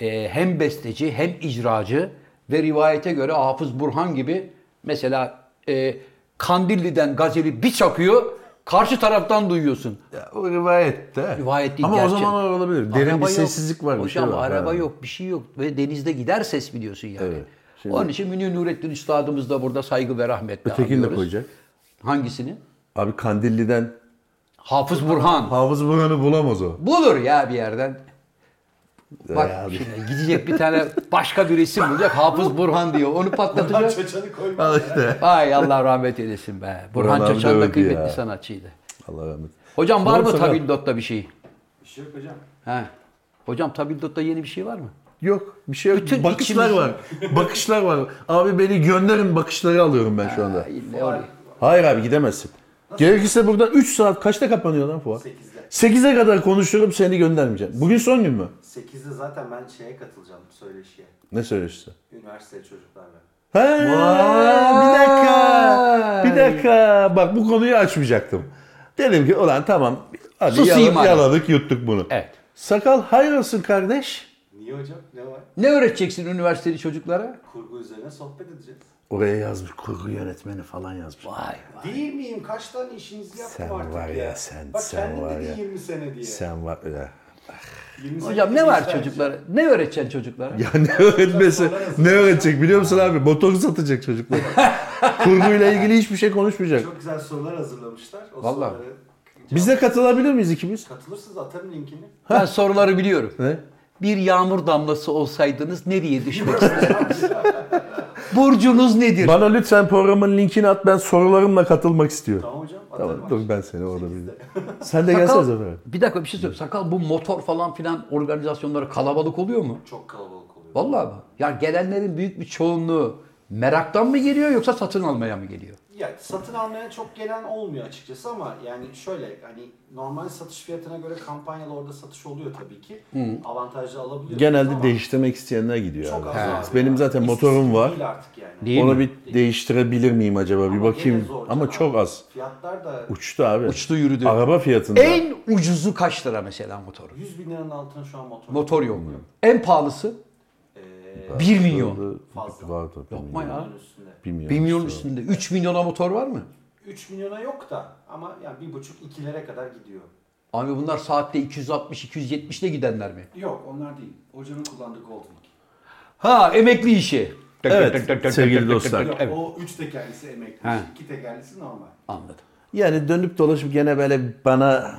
[SPEAKER 1] e, hem besteci hem icracı ve rivayete göre Hafız Burhan gibi mesela e, Kandilli'den gazeli bir çakıyor, karşı taraftan duyuyorsun.
[SPEAKER 2] Ya, o rivayet de.
[SPEAKER 1] Rivayet değil,
[SPEAKER 2] Ama
[SPEAKER 1] gerçek.
[SPEAKER 2] o zaman olabilir. Derin
[SPEAKER 1] Araba
[SPEAKER 2] bir
[SPEAKER 1] yok.
[SPEAKER 2] sessizlik var. bir şey
[SPEAKER 1] Hocam
[SPEAKER 2] var.
[SPEAKER 1] araba
[SPEAKER 2] Ha.
[SPEAKER 1] yok, bir şey yok. Ve denizde gider ses biliyorsun yani.
[SPEAKER 2] Evet. Şimdi-
[SPEAKER 1] Onun için Münir Nurettin Üstadımız da burada saygı ve rahmetle
[SPEAKER 2] Ötekini de
[SPEAKER 1] anıyoruz.
[SPEAKER 2] koyacak.
[SPEAKER 1] Hangisini?
[SPEAKER 2] Abi Kandilli'den
[SPEAKER 1] Hafız Burhan.
[SPEAKER 2] Hafız Burhan'ı bulamaz o.
[SPEAKER 1] Bulur ya bir yerden. Bak
[SPEAKER 2] Ee, abi.
[SPEAKER 1] şimdi gidecek bir tane başka bir isim bulacak. Hafız Burhan diyor. Onu
[SPEAKER 3] Lan
[SPEAKER 1] patlatacak.
[SPEAKER 3] çaçanı koymuş.
[SPEAKER 2] Al işte.
[SPEAKER 1] Ay Allah rahmet eylesin be. Burhan,
[SPEAKER 2] Burhan abi
[SPEAKER 1] Çaçan da
[SPEAKER 2] dövdü
[SPEAKER 1] kıymetli
[SPEAKER 2] ya.
[SPEAKER 1] sanatçıydı.
[SPEAKER 2] Allah rahmet.
[SPEAKER 1] Hocam var
[SPEAKER 2] Doğru
[SPEAKER 1] mı
[SPEAKER 2] sana-
[SPEAKER 1] Tabildot'ta bir şey?
[SPEAKER 3] Bir şey yok hocam.
[SPEAKER 1] He. Hocam Tabildot'ta yeni bir şey var mı?
[SPEAKER 2] Yok bir şey yok.
[SPEAKER 1] Bütün
[SPEAKER 2] bakışlar
[SPEAKER 1] içimiz-
[SPEAKER 2] var. bakışlar var. Abi beni gönderin bakışları alıyorum ben şu anda.
[SPEAKER 1] Ay, ne oluyor?
[SPEAKER 2] Hayır abi gidemezsin. Gerekirse buradan 3 saat kaçta kapanıyor lan fuar?
[SPEAKER 3] Sekizde.
[SPEAKER 2] 8'e kadar konuşurum seni göndermeyeceğim. Bugün son gün mü?
[SPEAKER 3] 8'de zaten ben şeye katılacağım söyleşiye.
[SPEAKER 2] Ne söylüyorsun?
[SPEAKER 3] Üniversite çocuklarla.
[SPEAKER 2] Ha, bir dakika. Bir dakika. Bak bu konuyu açmayacaktım. Dedim ki ulan tamam. Hadi
[SPEAKER 1] Susayım
[SPEAKER 2] yala-
[SPEAKER 1] abi."
[SPEAKER 2] yaladık yuttuk bunu.
[SPEAKER 1] Evet.
[SPEAKER 2] Sakal hayır olsun kardeş.
[SPEAKER 3] Niye hocam? Ne var?
[SPEAKER 1] Ne öğreteceksin üniversiteli çocuklara?
[SPEAKER 3] Kurgu üzerine sohbet edeceğiz.
[SPEAKER 2] Oraya yazmış kurgu yönetmeni falan yazmış.
[SPEAKER 1] Vay
[SPEAKER 3] Değil miyim? Kaç tane işinizi yaptım
[SPEAKER 2] Sen
[SPEAKER 3] artık
[SPEAKER 2] var ya,
[SPEAKER 3] ya.
[SPEAKER 2] sen-
[SPEAKER 3] Bak
[SPEAKER 2] sen
[SPEAKER 3] kendin
[SPEAKER 2] var
[SPEAKER 3] dedin
[SPEAKER 2] ya.
[SPEAKER 3] 20 sene diye.
[SPEAKER 2] Sen var ya.
[SPEAKER 3] 20 sene
[SPEAKER 1] Hocam ne
[SPEAKER 3] diye
[SPEAKER 1] var
[SPEAKER 3] işler
[SPEAKER 1] çocuklara? Ne öğreteceksin çocuklara?
[SPEAKER 2] Ya ne öğretmesi? ne
[SPEAKER 3] şey
[SPEAKER 2] öğretecek biliyor musun abi? Motor satacak çocuklar. Kurguyla ilgili hiçbir şey konuşmayacak.
[SPEAKER 3] Çok güzel sorular hazırlamışlar. O
[SPEAKER 1] Vallahi.
[SPEAKER 3] soruları
[SPEAKER 2] Biz de katılabilir miyiz ikimiz?
[SPEAKER 3] katılırsınız atarım linkini.
[SPEAKER 1] Ben soruları biliyorum.
[SPEAKER 2] Ne?
[SPEAKER 1] Bir yağmur damlası olsaydınız nereye düşmek isterdiniz? Burcunuz nedir?
[SPEAKER 2] Bana lütfen programın linkini at ben sorularımla katılmak istiyorum.
[SPEAKER 3] Tamam hocam atarım.
[SPEAKER 2] Tamam,
[SPEAKER 3] Tamam,
[SPEAKER 2] dur ben seni orada bileyim. Sen de gelsene Zafer abi.
[SPEAKER 1] bir dakika bir şey söyleyeyim. Sakal bu motor falan filan organizasyonları kalabalık oluyor mu?
[SPEAKER 3] Çok kalabalık oluyor.
[SPEAKER 1] Vallahi mı? Ya gelenlerin büyük bir çoğunluğu meraktan mı geliyor yoksa satın almaya mı geliyor?
[SPEAKER 3] Ya satın almaya çok gelen olmuyor açıkçası ama yani şöyle hani normal satış fiyatına göre kampanyalı orada satış oluyor tabii ki. Avantajlı alabiliyorsunuz
[SPEAKER 2] Genelde
[SPEAKER 3] ama
[SPEAKER 2] değiştirmek isteyenler gidiyor
[SPEAKER 3] çok
[SPEAKER 2] abi.
[SPEAKER 3] az abi
[SPEAKER 2] Benim
[SPEAKER 3] ya.
[SPEAKER 2] zaten
[SPEAKER 3] İstatistik
[SPEAKER 2] motorum var.
[SPEAKER 3] Değil artık yani.
[SPEAKER 1] Değil
[SPEAKER 2] Onu
[SPEAKER 1] mi?
[SPEAKER 2] bir değiştirebilir miyim acaba bir
[SPEAKER 3] Ama gene
[SPEAKER 2] bakayım.
[SPEAKER 3] zor
[SPEAKER 2] Ama
[SPEAKER 3] canım.
[SPEAKER 2] çok az.
[SPEAKER 3] Fiyatlar da
[SPEAKER 2] Uçtu abi.
[SPEAKER 1] Uçtu yürüdü.
[SPEAKER 2] Araba fiyatında.
[SPEAKER 1] En ucuzu kaç lira mesela motoru?
[SPEAKER 3] 100 bin liranın altına şu an motor.
[SPEAKER 1] Motor yok. En pahalısı
[SPEAKER 3] Ee,
[SPEAKER 1] 1 milyon.
[SPEAKER 3] Fazla.
[SPEAKER 2] Vardı.
[SPEAKER 1] Yapma ya.
[SPEAKER 3] milyonun üstünde.
[SPEAKER 2] Bilmiyorum.
[SPEAKER 1] 1 milyonun üstünde. 3 milyona motor var mı?
[SPEAKER 3] 3 milyona yok da ama yani bir buçuk ikilere kadar gidiyor.
[SPEAKER 1] Abi bunlar saatte 260-270 ile gidenler mi?
[SPEAKER 3] Yok onlar değil. Hocanın kullandığı Goldwing.
[SPEAKER 1] Ha emekli işi.
[SPEAKER 2] Evet, sevgili dostlar.
[SPEAKER 3] Yok
[SPEAKER 1] Evet.
[SPEAKER 3] o 3 tekerlisi emekli.
[SPEAKER 1] Ha.
[SPEAKER 3] 2 tekerlisi normal.
[SPEAKER 1] Anladım.
[SPEAKER 2] Yani dönüp dolaşıp gene böyle bana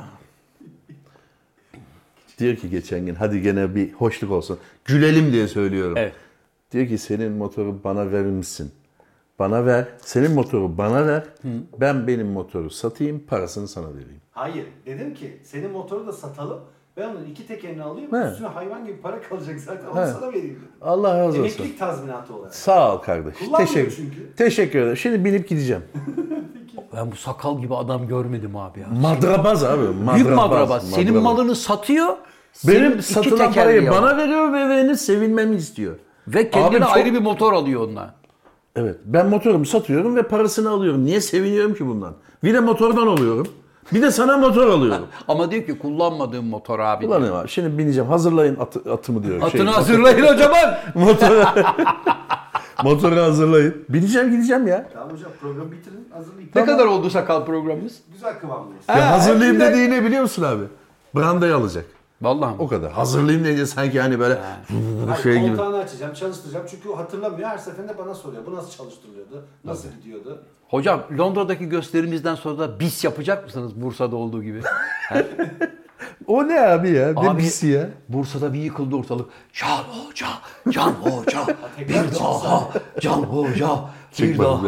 [SPEAKER 2] diyor ki geçen gün hadi gene bir hoşluk olsun. Gülelim diye söylüyorum.
[SPEAKER 1] Evet.
[SPEAKER 2] Diyor ki senin motoru bana verir misin? Bana ver. Senin motoru bana ver. Ben benim motoru satayım, parasını sana vereyim.
[SPEAKER 3] Hayır dedim ki senin motoru da satalım. Ben onun iki tekerini alayım.
[SPEAKER 2] He.
[SPEAKER 3] Üstüne hayvan gibi para kalacak zaten.
[SPEAKER 2] He.
[SPEAKER 3] Onu sana vereyim dedim.
[SPEAKER 2] Allah razı olsun.
[SPEAKER 3] Emeklilik tazminatı olarak.
[SPEAKER 2] Sağ ol kardeş.
[SPEAKER 3] Kullanmıyor
[SPEAKER 2] Teşekkür.
[SPEAKER 3] çünkü.
[SPEAKER 2] Teşekkür ederim. Şimdi binip gideceğim.
[SPEAKER 1] Ben bu sakal gibi adam görmedim abi ya.
[SPEAKER 2] Madrabaz abi. Madrabaz.
[SPEAKER 1] Büyük madrabaz. Senin
[SPEAKER 2] madrabaz.
[SPEAKER 1] malını satıyor. senin
[SPEAKER 2] benim
[SPEAKER 1] iki
[SPEAKER 2] satılan
[SPEAKER 1] tekerleği
[SPEAKER 2] parayı
[SPEAKER 1] alıyor.
[SPEAKER 2] bana veriyor ve beni sevinmemi istiyor.
[SPEAKER 1] Ve kendine
[SPEAKER 2] Abi çok-
[SPEAKER 1] ayrı bir motor alıyor onunla.
[SPEAKER 2] Evet. Ben motorumu satıyorum ve parasını alıyorum. Niye seviniyorum ki bundan? Bir de motordan oluyorum. Bir de sana motor alıyorum.
[SPEAKER 1] Ama diyor ki kullanmadığım motor abi.
[SPEAKER 2] Ulan ne var? Şimdi bineceğim. Hazırlayın atı- atımı diyor.
[SPEAKER 1] Atını
[SPEAKER 2] Şey,
[SPEAKER 1] hazırlayın hocam.
[SPEAKER 2] Motoru, motoru hazırlayın. Bineceğim gideceğim ya.
[SPEAKER 3] Tamam hocam programı bitirin hazırlayın.
[SPEAKER 1] Ne kadar oldu sakal programımız?
[SPEAKER 3] Güzel kıvamlıyız.
[SPEAKER 2] Ya
[SPEAKER 1] Ha,
[SPEAKER 2] hazırlayayım
[SPEAKER 1] hepsinden-
[SPEAKER 2] dediği ne biliyor musun abi? Brandayı alacak.
[SPEAKER 1] Vallahi
[SPEAKER 2] O
[SPEAKER 1] mi?
[SPEAKER 2] kadar. Hazırlayayım deyince sanki hani böyle
[SPEAKER 3] Hayır,
[SPEAKER 2] şey gibi.
[SPEAKER 3] koltuğunu açacağım, çalıştıracağım. Çünkü o hatırlamıyor. Her seferinde bana soruyor. Bu nasıl çalıştırılıyordu? Nasıl gidiyordu?
[SPEAKER 1] Hocam Londra'daki gösterimizden sonra da bis yapacak mısınız Bursa'da olduğu gibi?
[SPEAKER 2] O ne abi ya? Ne
[SPEAKER 1] Abi-
[SPEAKER 2] pisi ya?
[SPEAKER 1] Bursa'da bir yıkıldı ortalık. Can Hoca, Can Hoca,
[SPEAKER 3] Tekrar
[SPEAKER 1] bir daha, Can Hoca, bir
[SPEAKER 2] Çekmedim
[SPEAKER 1] daha.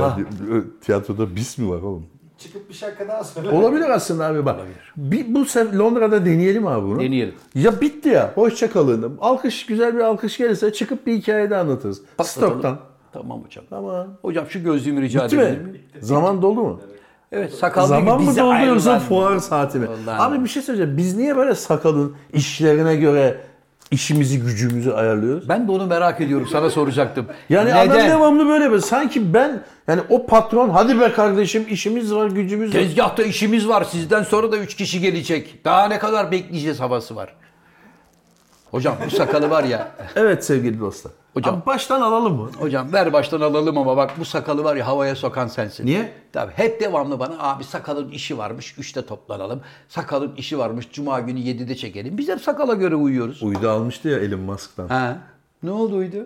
[SPEAKER 2] ya. Tiyatroda bis mi var oğlum?
[SPEAKER 3] Çıkıp bir şaka daha söyle.
[SPEAKER 2] Olabilir aslında abi bak. Bir, bu sefer Londra'da deneyelim abi bunu.
[SPEAKER 1] Deneyelim.
[SPEAKER 2] Ya bitti ya. Hoşça kalın. Alkış güzel bir alkış gelirse çıkıp bir hikaye de anlatırız.
[SPEAKER 1] Patlatalım.
[SPEAKER 2] Stoktan.
[SPEAKER 1] Tamam hocam.
[SPEAKER 2] Tamam.
[SPEAKER 1] Hocam şu gözlüğümü rica
[SPEAKER 2] Bitti
[SPEAKER 1] edebilir
[SPEAKER 2] mi?
[SPEAKER 1] miyim?
[SPEAKER 2] Zaman doldu mu?
[SPEAKER 1] Evet sakal
[SPEAKER 2] Zaman mı doldu yoksa fuar
[SPEAKER 1] fuarsa?
[SPEAKER 2] saati mi?
[SPEAKER 1] Vallahi.
[SPEAKER 2] Abi bir şey söyleyeceğim. Biz niye böyle sakalın işlerine göre işimizi gücümüzü ayarlıyoruz?
[SPEAKER 1] Ben de onu merak ediyorum. Sana soracaktım.
[SPEAKER 2] Yani adam
[SPEAKER 1] Neden?
[SPEAKER 2] devamlı böyle böyle. Sanki ben yani o patron hadi be kardeşim işimiz var gücümüz var.
[SPEAKER 1] Tezgahta işimiz var. Sizden sonra da 3 kişi gelecek. Daha ne kadar bekleyeceğiz havası var. Hocam bu sakalı var ya.
[SPEAKER 2] Evet sevgili dostlar.
[SPEAKER 1] Hocam.
[SPEAKER 2] Abi baştan alalım mı?
[SPEAKER 1] Hocam ver baştan alalım ama bak bu sakalı var ya havaya sokan sensin.
[SPEAKER 2] Niye?
[SPEAKER 1] Tabii hep devamlı bana abi sakalın işi varmış 3'te toplanalım. Sakalın işi varmış cuma günü 7'de çekelim. Biz hep sakala göre uyuyoruz.
[SPEAKER 2] Uydu almıştı ya Elon Musk'tan.
[SPEAKER 1] Ha. Ne oldu uydu?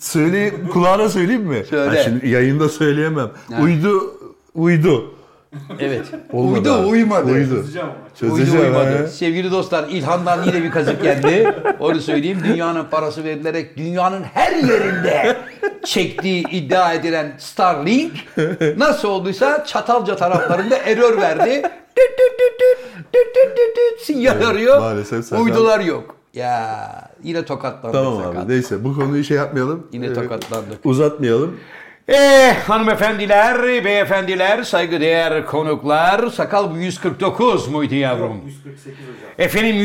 [SPEAKER 2] Söyle kulağına söyleyeyim mi?
[SPEAKER 1] Söyle.
[SPEAKER 2] Ha, şimdi yayında söyleyemem. Uydu uydu.
[SPEAKER 1] Evet.
[SPEAKER 2] Olmadı
[SPEAKER 1] uydu
[SPEAKER 2] abi.
[SPEAKER 1] uymadı.
[SPEAKER 2] Uydu.
[SPEAKER 3] Yazacağım ama.
[SPEAKER 1] Uydu
[SPEAKER 2] Çözeceğim ha.
[SPEAKER 1] uymadı. Sevgili dostlar İlhan'dan yine bir kazık geldi. Onu söyleyeyim. Dünyanın parası verilerek dünyanın her yerinde çektiği iddia edilen Starlink nasıl olduysa Çatalca taraflarında error verdi. Düt düt düt düt, düt düt düt düt Sinyal
[SPEAKER 2] Evet,
[SPEAKER 1] arıyor.
[SPEAKER 2] maalesef senden-
[SPEAKER 1] Uydular yok. Ya yine tokatlandık
[SPEAKER 2] Tamam
[SPEAKER 1] sakat.
[SPEAKER 2] abi neyse bu konuyu şey yapmayalım.
[SPEAKER 1] Yine
[SPEAKER 2] Ee,
[SPEAKER 1] tokatlandık.
[SPEAKER 2] Uzatmayalım.
[SPEAKER 1] Eh hanımefendiler, beyefendiler, saygıdeğer konuklar. Sakal 149 muydu yavrum?
[SPEAKER 3] 148 hocam.
[SPEAKER 1] Efendim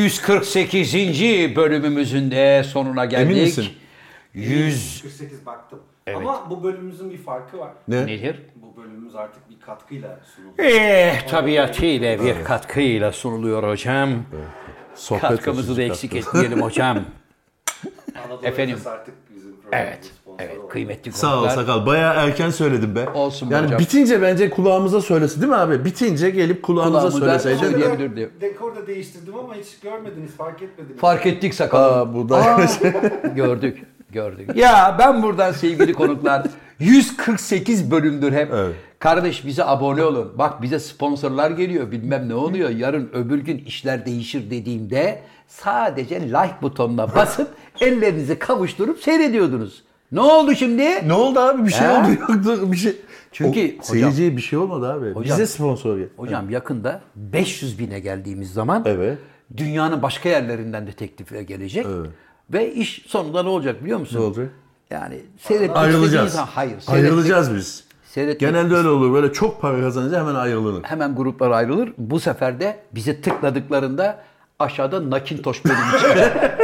[SPEAKER 1] 148. bölümümüzün de sonuna geldik.
[SPEAKER 2] Emin misin?
[SPEAKER 1] 100
[SPEAKER 3] 148 baktım. Ama bu bölümümüzün bir farkı var.
[SPEAKER 2] Ne?
[SPEAKER 1] nedir?
[SPEAKER 3] Bu bölümümüz artık bir katkıyla sunuldu.
[SPEAKER 1] Eh tabiatıyla bir katkıyla sunuluyor hocam.
[SPEAKER 2] Sohbet
[SPEAKER 1] Katkımızı
[SPEAKER 2] olsun,
[SPEAKER 1] da
[SPEAKER 2] katkı.
[SPEAKER 1] eksik etmeyelim hocam.
[SPEAKER 3] Anadolu
[SPEAKER 1] Efendim.
[SPEAKER 3] Efendim. artık bizim programımızın
[SPEAKER 1] Evet.
[SPEAKER 3] sponsoru
[SPEAKER 1] Evet
[SPEAKER 3] oldu.
[SPEAKER 1] kıymetli
[SPEAKER 2] Sağ ol
[SPEAKER 1] konuklar.
[SPEAKER 2] sakal. Bayağı erken söyledim be.
[SPEAKER 1] Olsun be
[SPEAKER 2] Yani
[SPEAKER 1] hocam.
[SPEAKER 2] bitince bence kulağımıza söylesi değil mi abi? Bitince gelip kulağımıza
[SPEAKER 1] Kulağımıza
[SPEAKER 2] söyleseydin.
[SPEAKER 1] söyle-
[SPEAKER 3] Dekoru da-
[SPEAKER 1] diyebilirdi.
[SPEAKER 3] Dekoru da değiştirdim ama hiç görmediniz, fark etmediniz.
[SPEAKER 1] Fark ettik sakalı.
[SPEAKER 2] Aa bu da
[SPEAKER 1] gördük. Gördük. Ya ben buradan sevgili konuklar 148 bölümdür hep.
[SPEAKER 2] Evet.
[SPEAKER 1] Kardeş bize abone olun. Bak bize sponsorlar geliyor. Bilmem ne oluyor. Yarın öbür gün işler değişir dediğimde sadece like butonuna basıp ellerinizi kavuşturup seyrediyordunuz. Ne oldu şimdi?
[SPEAKER 2] Ne oldu abi? Bir şey
[SPEAKER 1] He?
[SPEAKER 2] oldu yoktu. Bir şey.
[SPEAKER 1] Çünkü
[SPEAKER 2] O-
[SPEAKER 1] hocam-
[SPEAKER 2] seyirciye bir şey olmadı abi.
[SPEAKER 1] Hocam-
[SPEAKER 2] Bize sponsor gel.
[SPEAKER 1] Hocam yakında 500 bine geldiğimiz zaman
[SPEAKER 2] Evet.
[SPEAKER 1] dünyanın başka yerlerinden de teklifler gelecek. Ve iş sonunda ne olacak biliyor musun?
[SPEAKER 2] Ne olacak?
[SPEAKER 1] Yani seyretmek istediğiniz
[SPEAKER 2] Ayrılacağız.
[SPEAKER 1] zaman- hayır. seyretmek-
[SPEAKER 2] Ayrılacağız biz.
[SPEAKER 1] Seyretmek-
[SPEAKER 2] Genelde öyle olur. Böyle çok para kazanınca hemen ayrılır.
[SPEAKER 1] Hemen gruplar ayrılır. Bu sefer de bize tıkladıklarında aşağıda nakintoş bölümü çıkacak.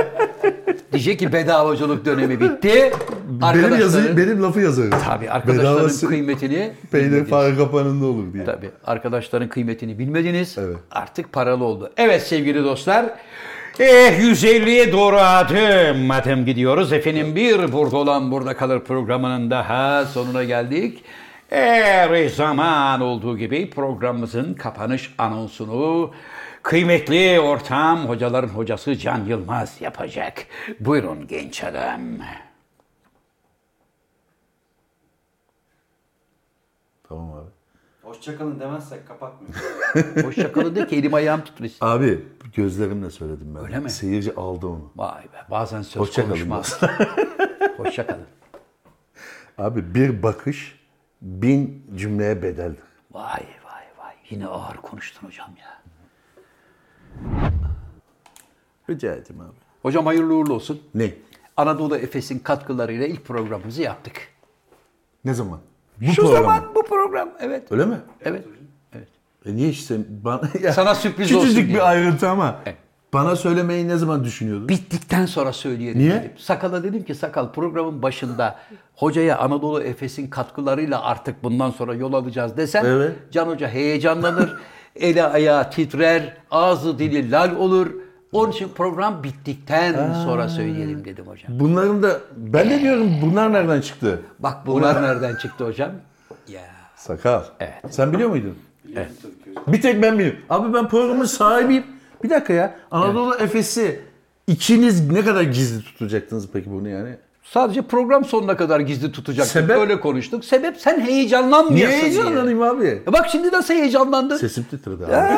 [SPEAKER 1] Diyecek ki bedavacılık dönemi bitti.
[SPEAKER 2] Benim, yazı,
[SPEAKER 1] Arkadaşların-
[SPEAKER 2] benim lafı yazarız.
[SPEAKER 1] Tabii arkadaşların
[SPEAKER 2] Bedavası
[SPEAKER 1] kıymetini
[SPEAKER 2] Peynir
[SPEAKER 1] bilmediniz.
[SPEAKER 2] fare kapanında olur diye.
[SPEAKER 1] Tabii arkadaşların kıymetini bilmediniz.
[SPEAKER 2] Evet.
[SPEAKER 1] Artık paralı oldu. Evet sevgili dostlar. Eh 150'ye doğru adım adım gidiyoruz. Efendim bir burada olan burada kalır programının daha sonuna geldik. Her zaman olduğu gibi programımızın kapanış anonsunu kıymetli ortam hocaların hocası Can Yılmaz yapacak. Buyurun genç adam.
[SPEAKER 2] Tamam abi.
[SPEAKER 3] Hoşçakalın demezsek kapatmıyoruz.
[SPEAKER 1] Hoşçakalın de ki elim ayağım tutmasın.
[SPEAKER 2] Abi gözlerimle söyledim ben.
[SPEAKER 1] Öyle mi?
[SPEAKER 2] Seyirci aldı onu.
[SPEAKER 1] Vay be bazen söz
[SPEAKER 2] Hoşça kalın
[SPEAKER 1] konuşmaz. Hoşçakalın.
[SPEAKER 2] Abi bir bakış bin cümleye bedeldir.
[SPEAKER 1] Vay vay vay. Yine ağır konuştun hocam ya.
[SPEAKER 2] Rica ettim abi.
[SPEAKER 1] Hocam hayırlı uğurlu olsun.
[SPEAKER 2] Ne?
[SPEAKER 1] Anadolu Efes'in katkılarıyla ilk programımızı yaptık.
[SPEAKER 2] Ne zaman? Bu
[SPEAKER 1] Şu
[SPEAKER 2] program mı?
[SPEAKER 1] zaman bu program. Evet.
[SPEAKER 2] Öyle mi?
[SPEAKER 1] Evet. Evet.
[SPEAKER 2] E niye işte bana... Ya,
[SPEAKER 1] Sana sürpriz
[SPEAKER 2] küçücük
[SPEAKER 1] olsun diye.
[SPEAKER 2] bir ayrıntı ama.
[SPEAKER 1] Evet.
[SPEAKER 2] Bana söylemeyi ne zaman düşünüyordun?
[SPEAKER 1] Bittikten sonra söyleyelim.
[SPEAKER 2] Niye?
[SPEAKER 1] dedim. Sakala dedim ki sakal programın başında hocaya Anadolu Efes'in katkılarıyla artık bundan sonra yol alacağız desen
[SPEAKER 2] Evet.
[SPEAKER 1] Can Hoca heyecanlanır. eli ayağı titrer. Ağzı dili lal olur. Onun için program bittikten sonra söyleyelim dedim hocam.
[SPEAKER 2] Bunların da... Ben de diyorum bunlar nereden çıktı?
[SPEAKER 1] Bak bunlar nereden çıktı hocam? Ya.
[SPEAKER 2] Sakal.
[SPEAKER 1] Evet.
[SPEAKER 2] Sen biliyor muydun?
[SPEAKER 3] Biliyorsun tabii ki hocam.
[SPEAKER 2] Bir tek ben biliyorum. Abi ben programın sahibiyim. Bir dakika ya. Anadolu Efes'i ikiniz ne kadar gizli tutacaktınız peki bunu yani?
[SPEAKER 1] Sadece program sonuna kadar gizli tutacaktık.
[SPEAKER 2] Sebep?
[SPEAKER 1] Öyle konuştuk. Sebep sen heyecanlanmıyorsun
[SPEAKER 2] Niye
[SPEAKER 1] diye.
[SPEAKER 2] heyecanlanayım abi?
[SPEAKER 1] E Bak şimdi nasıl heyecanlandın?
[SPEAKER 2] Sesim titredi abi.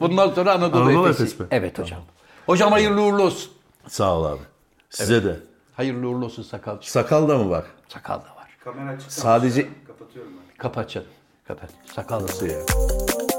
[SPEAKER 1] Bundan sonra Anadolu,
[SPEAKER 2] Anadolu
[SPEAKER 1] Efesi.
[SPEAKER 2] Efes mi?
[SPEAKER 1] Evet hocam. Hocam hayırlı uğurlu olsun.
[SPEAKER 2] Sağ ol abi. Size de.
[SPEAKER 1] Hayırlı uğurlu olsun sakal.
[SPEAKER 2] Sakal da mı var?
[SPEAKER 1] Sakal da var.
[SPEAKER 3] Kamera çıktı.
[SPEAKER 2] Sadece-
[SPEAKER 3] Kapatıyorum ben.
[SPEAKER 1] Kapat canım.
[SPEAKER 4] Kadar. Sakallısı.
[SPEAKER 2] Şey
[SPEAKER 1] Nasıl ya?